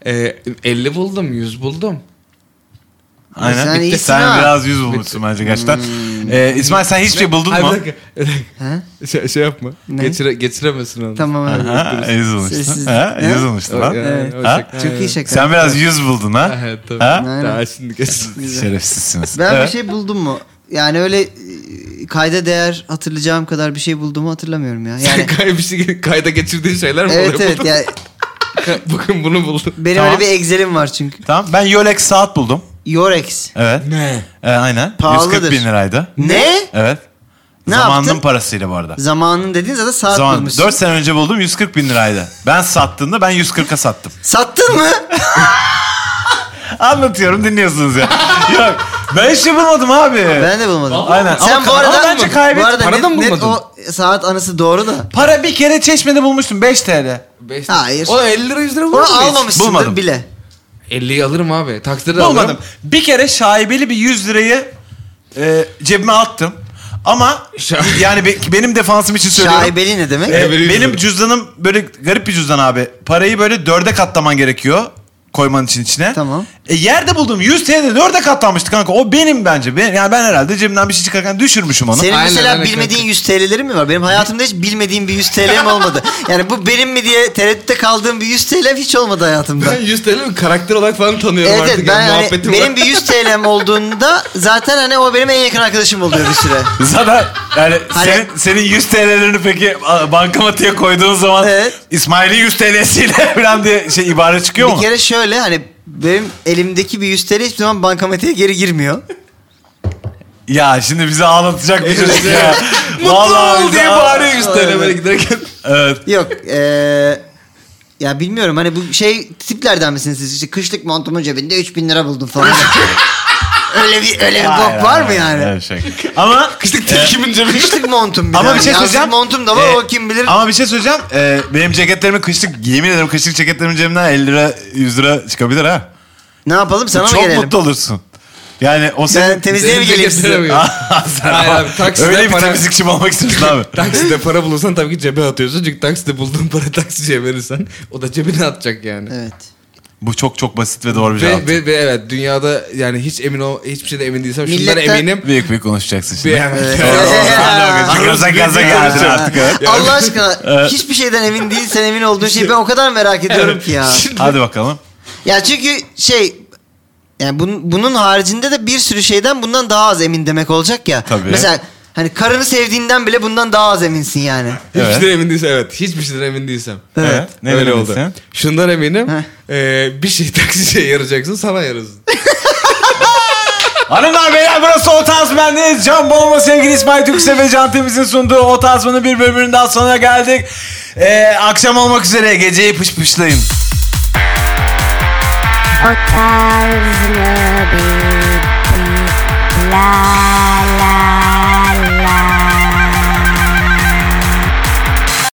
C: Ee, 50 buldum, 100 buldum.
D: Aynen.
B: Sen
D: Sen,
B: iyisin ha. Hmm.
D: biraz yüz bulmuşsun bence gerçekten. Ee, İsmail sen hiçbir şey buldun
C: Ay, bir
D: mu?
C: dakika, bir dakika.
B: Ha?
C: Şey, şey yapma.
B: Ne?
C: Geçire, geçiremezsin onu.
B: Tamam abi.
D: Ha, yüz bulmuştun.
B: Sessizlik.
D: Ha,
B: Ne?
D: yüz bulmuştun
C: O-
D: lan.
C: yani, o
D: Ha?
C: şaka.
B: Çok iyi şaka.
D: Sen biraz yüz buldun ha.
C: Evet tabii.
D: Ha?
B: Aynen.
C: Daha şimdi geç.
D: Şerefsizsiniz.
B: Ben
D: Evet.
B: bir şey buldum mu? Yani öyle e, kayda değer hatırlayacağım kadar bir şey bulduğumu hatırlamıyorum ya. Yani
C: Kay- bir şey- kayda geçirdiğin şeyler mi
B: evet
C: oluyor?
B: evet yani
C: Bakın bunu buldum.
B: benim
D: Tamam.
B: öyle bir Excel'im var çünkü.
D: Tamam ben Yolex saat buldum.
B: Yorex.
D: Evet.
C: Ne?
D: Ee, aynen.
B: Pahalıdır.
D: 140 bin liraydı.
B: Ne?
D: Evet.
B: Ne
D: Zamanının
B: yaptın?
D: parasıyla bu arada.
B: Zamanın dediğin zaten saat
D: Zaman,
B: bulmuşsun.
D: 4 sene önce buldum 140 bin liraydı. Ben sattığımda ben 140'a sattım.
B: Sattın mı?
D: Anlatıyorum dinliyorsunuz ya. Yok ben hiç şey bulmadım abi.
B: ben de bulmadım.
D: Aynen.
B: Sen
D: Ama-
B: bu arada
D: ama bence kaybet-
B: Bu arada
C: Paradan
B: net,
C: mı
B: net
C: bulmadın?
B: o saat anısı doğru da.
D: Para bir kere çeşmede bulmuştum 5 TL.
C: Beş-
B: Hayır.
C: O 50 lira 100 lira
B: Onu
C: bulur mu hiç?
B: almamışsındır
D: Bulmadım.
B: bile.
C: 50'yi alırım abi. Taksiri de
D: Bulmadım.
C: alırım.
D: Bir kere şaibeli bir 100 lirayı e, cebime attım. Ama
C: Şa-
D: yani be- benim defansım için söylüyorum.
B: Şaibeli ne demek?
D: E,
C: Şaibeli
D: benim
C: yüzleri.
D: cüzdanım böyle garip bir cüzdan abi. Parayı böyle dörde katlaman gerekiyor. Koyman için içine.
B: Tamam.
D: E, yerde buldum 100 TL'de dörde katlanmıştı kanka. O benim bence. Ben, yani ben herhalde cebimden bir şey çıkarken düşürmüşüm onu.
B: Senin
C: Aynen,
B: mesela
C: aynen.
B: bilmediğin 100 TL'lerin mi var? Benim hayatımda hiç bilmediğim bir 100 TL'm olmadı. Yani bu benim mi diye tereddütte kaldığım bir 100 TL'm hiç olmadı hayatımda.
C: Ben 100 TL mi karakter olarak falan tanıyorum
B: Evet,
C: artık.
B: evet
C: ya,
B: ben hani,
C: muhabbetim
B: benim
C: var.
B: bir 100 TL'm olduğunda zaten hani o benim en yakın arkadaşım oluyor bir süre.
D: Zaten yani
B: Hani-
D: senin, senin 100 TL'lerini peki a, bankamatiğe koyduğun zaman
B: Evet.
D: İsmail'in 100 TL'siyle falan diye şey ibare çıkıyor
B: bir
D: mu?
B: kere şöyle hani benim elimdeki bir 100 TL hiçbir zaman bankamatiğe geri girmiyor.
D: Ya şimdi bizi ağlatacak bir çocuk ya.
C: Mutlu ol
D: bizi
C: diye
D: ağlat-
C: bağırıyor 100 TL böyle
B: Evet.
C: giderken.
D: Evet.
B: Yok eee ya bilmiyorum hani bu şey tiplerden misiniz siz? İşte kışlık montumun cebinde 3000 lira buldum falan. öyle bir öyle bir
D: Hayır,
B: bok var mı
D: hayır,
B: yani?
D: hayır, şey. Ama
C: Kışlık tilkimin cebinde.
B: Kışlık montum bir E,
D: Ama
B: daha.
D: bir şey
B: Yazlık
D: söyleyeceğim.
B: montum da var
D: Ee,
B: o kim bilir.
D: Ama bir şey söyleyeceğim. Ee, benim ceketlerimin kışlık, yemin ederim kışlık ceketlerimin cebimden 50 lira, 100 lira çıkabilir ha.
B: ne yapalım sana mı
D: Çok
B: gelelim?
D: mutlu olursun. Yani o
B: Ben
D: senin...
B: temizliğe mi
C: Benim
B: geleyim
C: ceketlerim
B: size?
C: yok.
D: Sen
C: Hayır
D: ama
C: abi, takside
D: öyle bir
C: para-
D: temizlikçi mi olmak istiyorsun abi?
C: Takside para bulursan tabii ki cebe atıyorsun. Çünkü takside bulduğun para taksiciye verirsen o da cebine atacak yani.
B: Evet.
D: Bu çok çok basit ve doğru bir cevap.
C: Ve, ve, ve evet dünyada yani hiç emin ol hiçbir şeyden emin değilsem şundan
B: Milletten-
C: eminim.
D: Büyük büyük konuşacaksın şimdi.
C: Bir-
D: Evet.
C: Evet.
D: Doğru. Gaza gaza geldin artık. evet.
B: Allah aşkına hiçbir şeyden emin değilsen emin olduğun şeyi ben o kadar merak ediyorum ki ya.
C: Şimdi-
D: Hadi bakalım.
B: Ya çünkü şey yani bunun, bunun haricinde de bir sürü şeyden bundan daha az emin demek olacak ya.
D: Tabii.
B: Mesela hani karını sevdiğinden bile bundan daha az eminsin yani.
C: Hiçbir
D: Evet.
C: şeyden emin değilsem evet. Hiçbir şeyden emin değilsem.
B: Evet.
D: Evet. Ne
C: Öyle
D: dedin
C: oldu.
D: sen?
C: Şundan eminim.
B: Heh.
C: eee, bir şey taksiciye yarayacaksın sana yarasın.
D: Hanımlar beyler burası Otaz Bendeniz. Can Bonomo sevgili İsmail Türkse ve Can Temiz'in sunduğu Otaz Bonomo bir bölümünün daha sonuna geldik. Ee, akşam olmak üzere geceyi pış pışlayın.
E: Otarzını bir biz la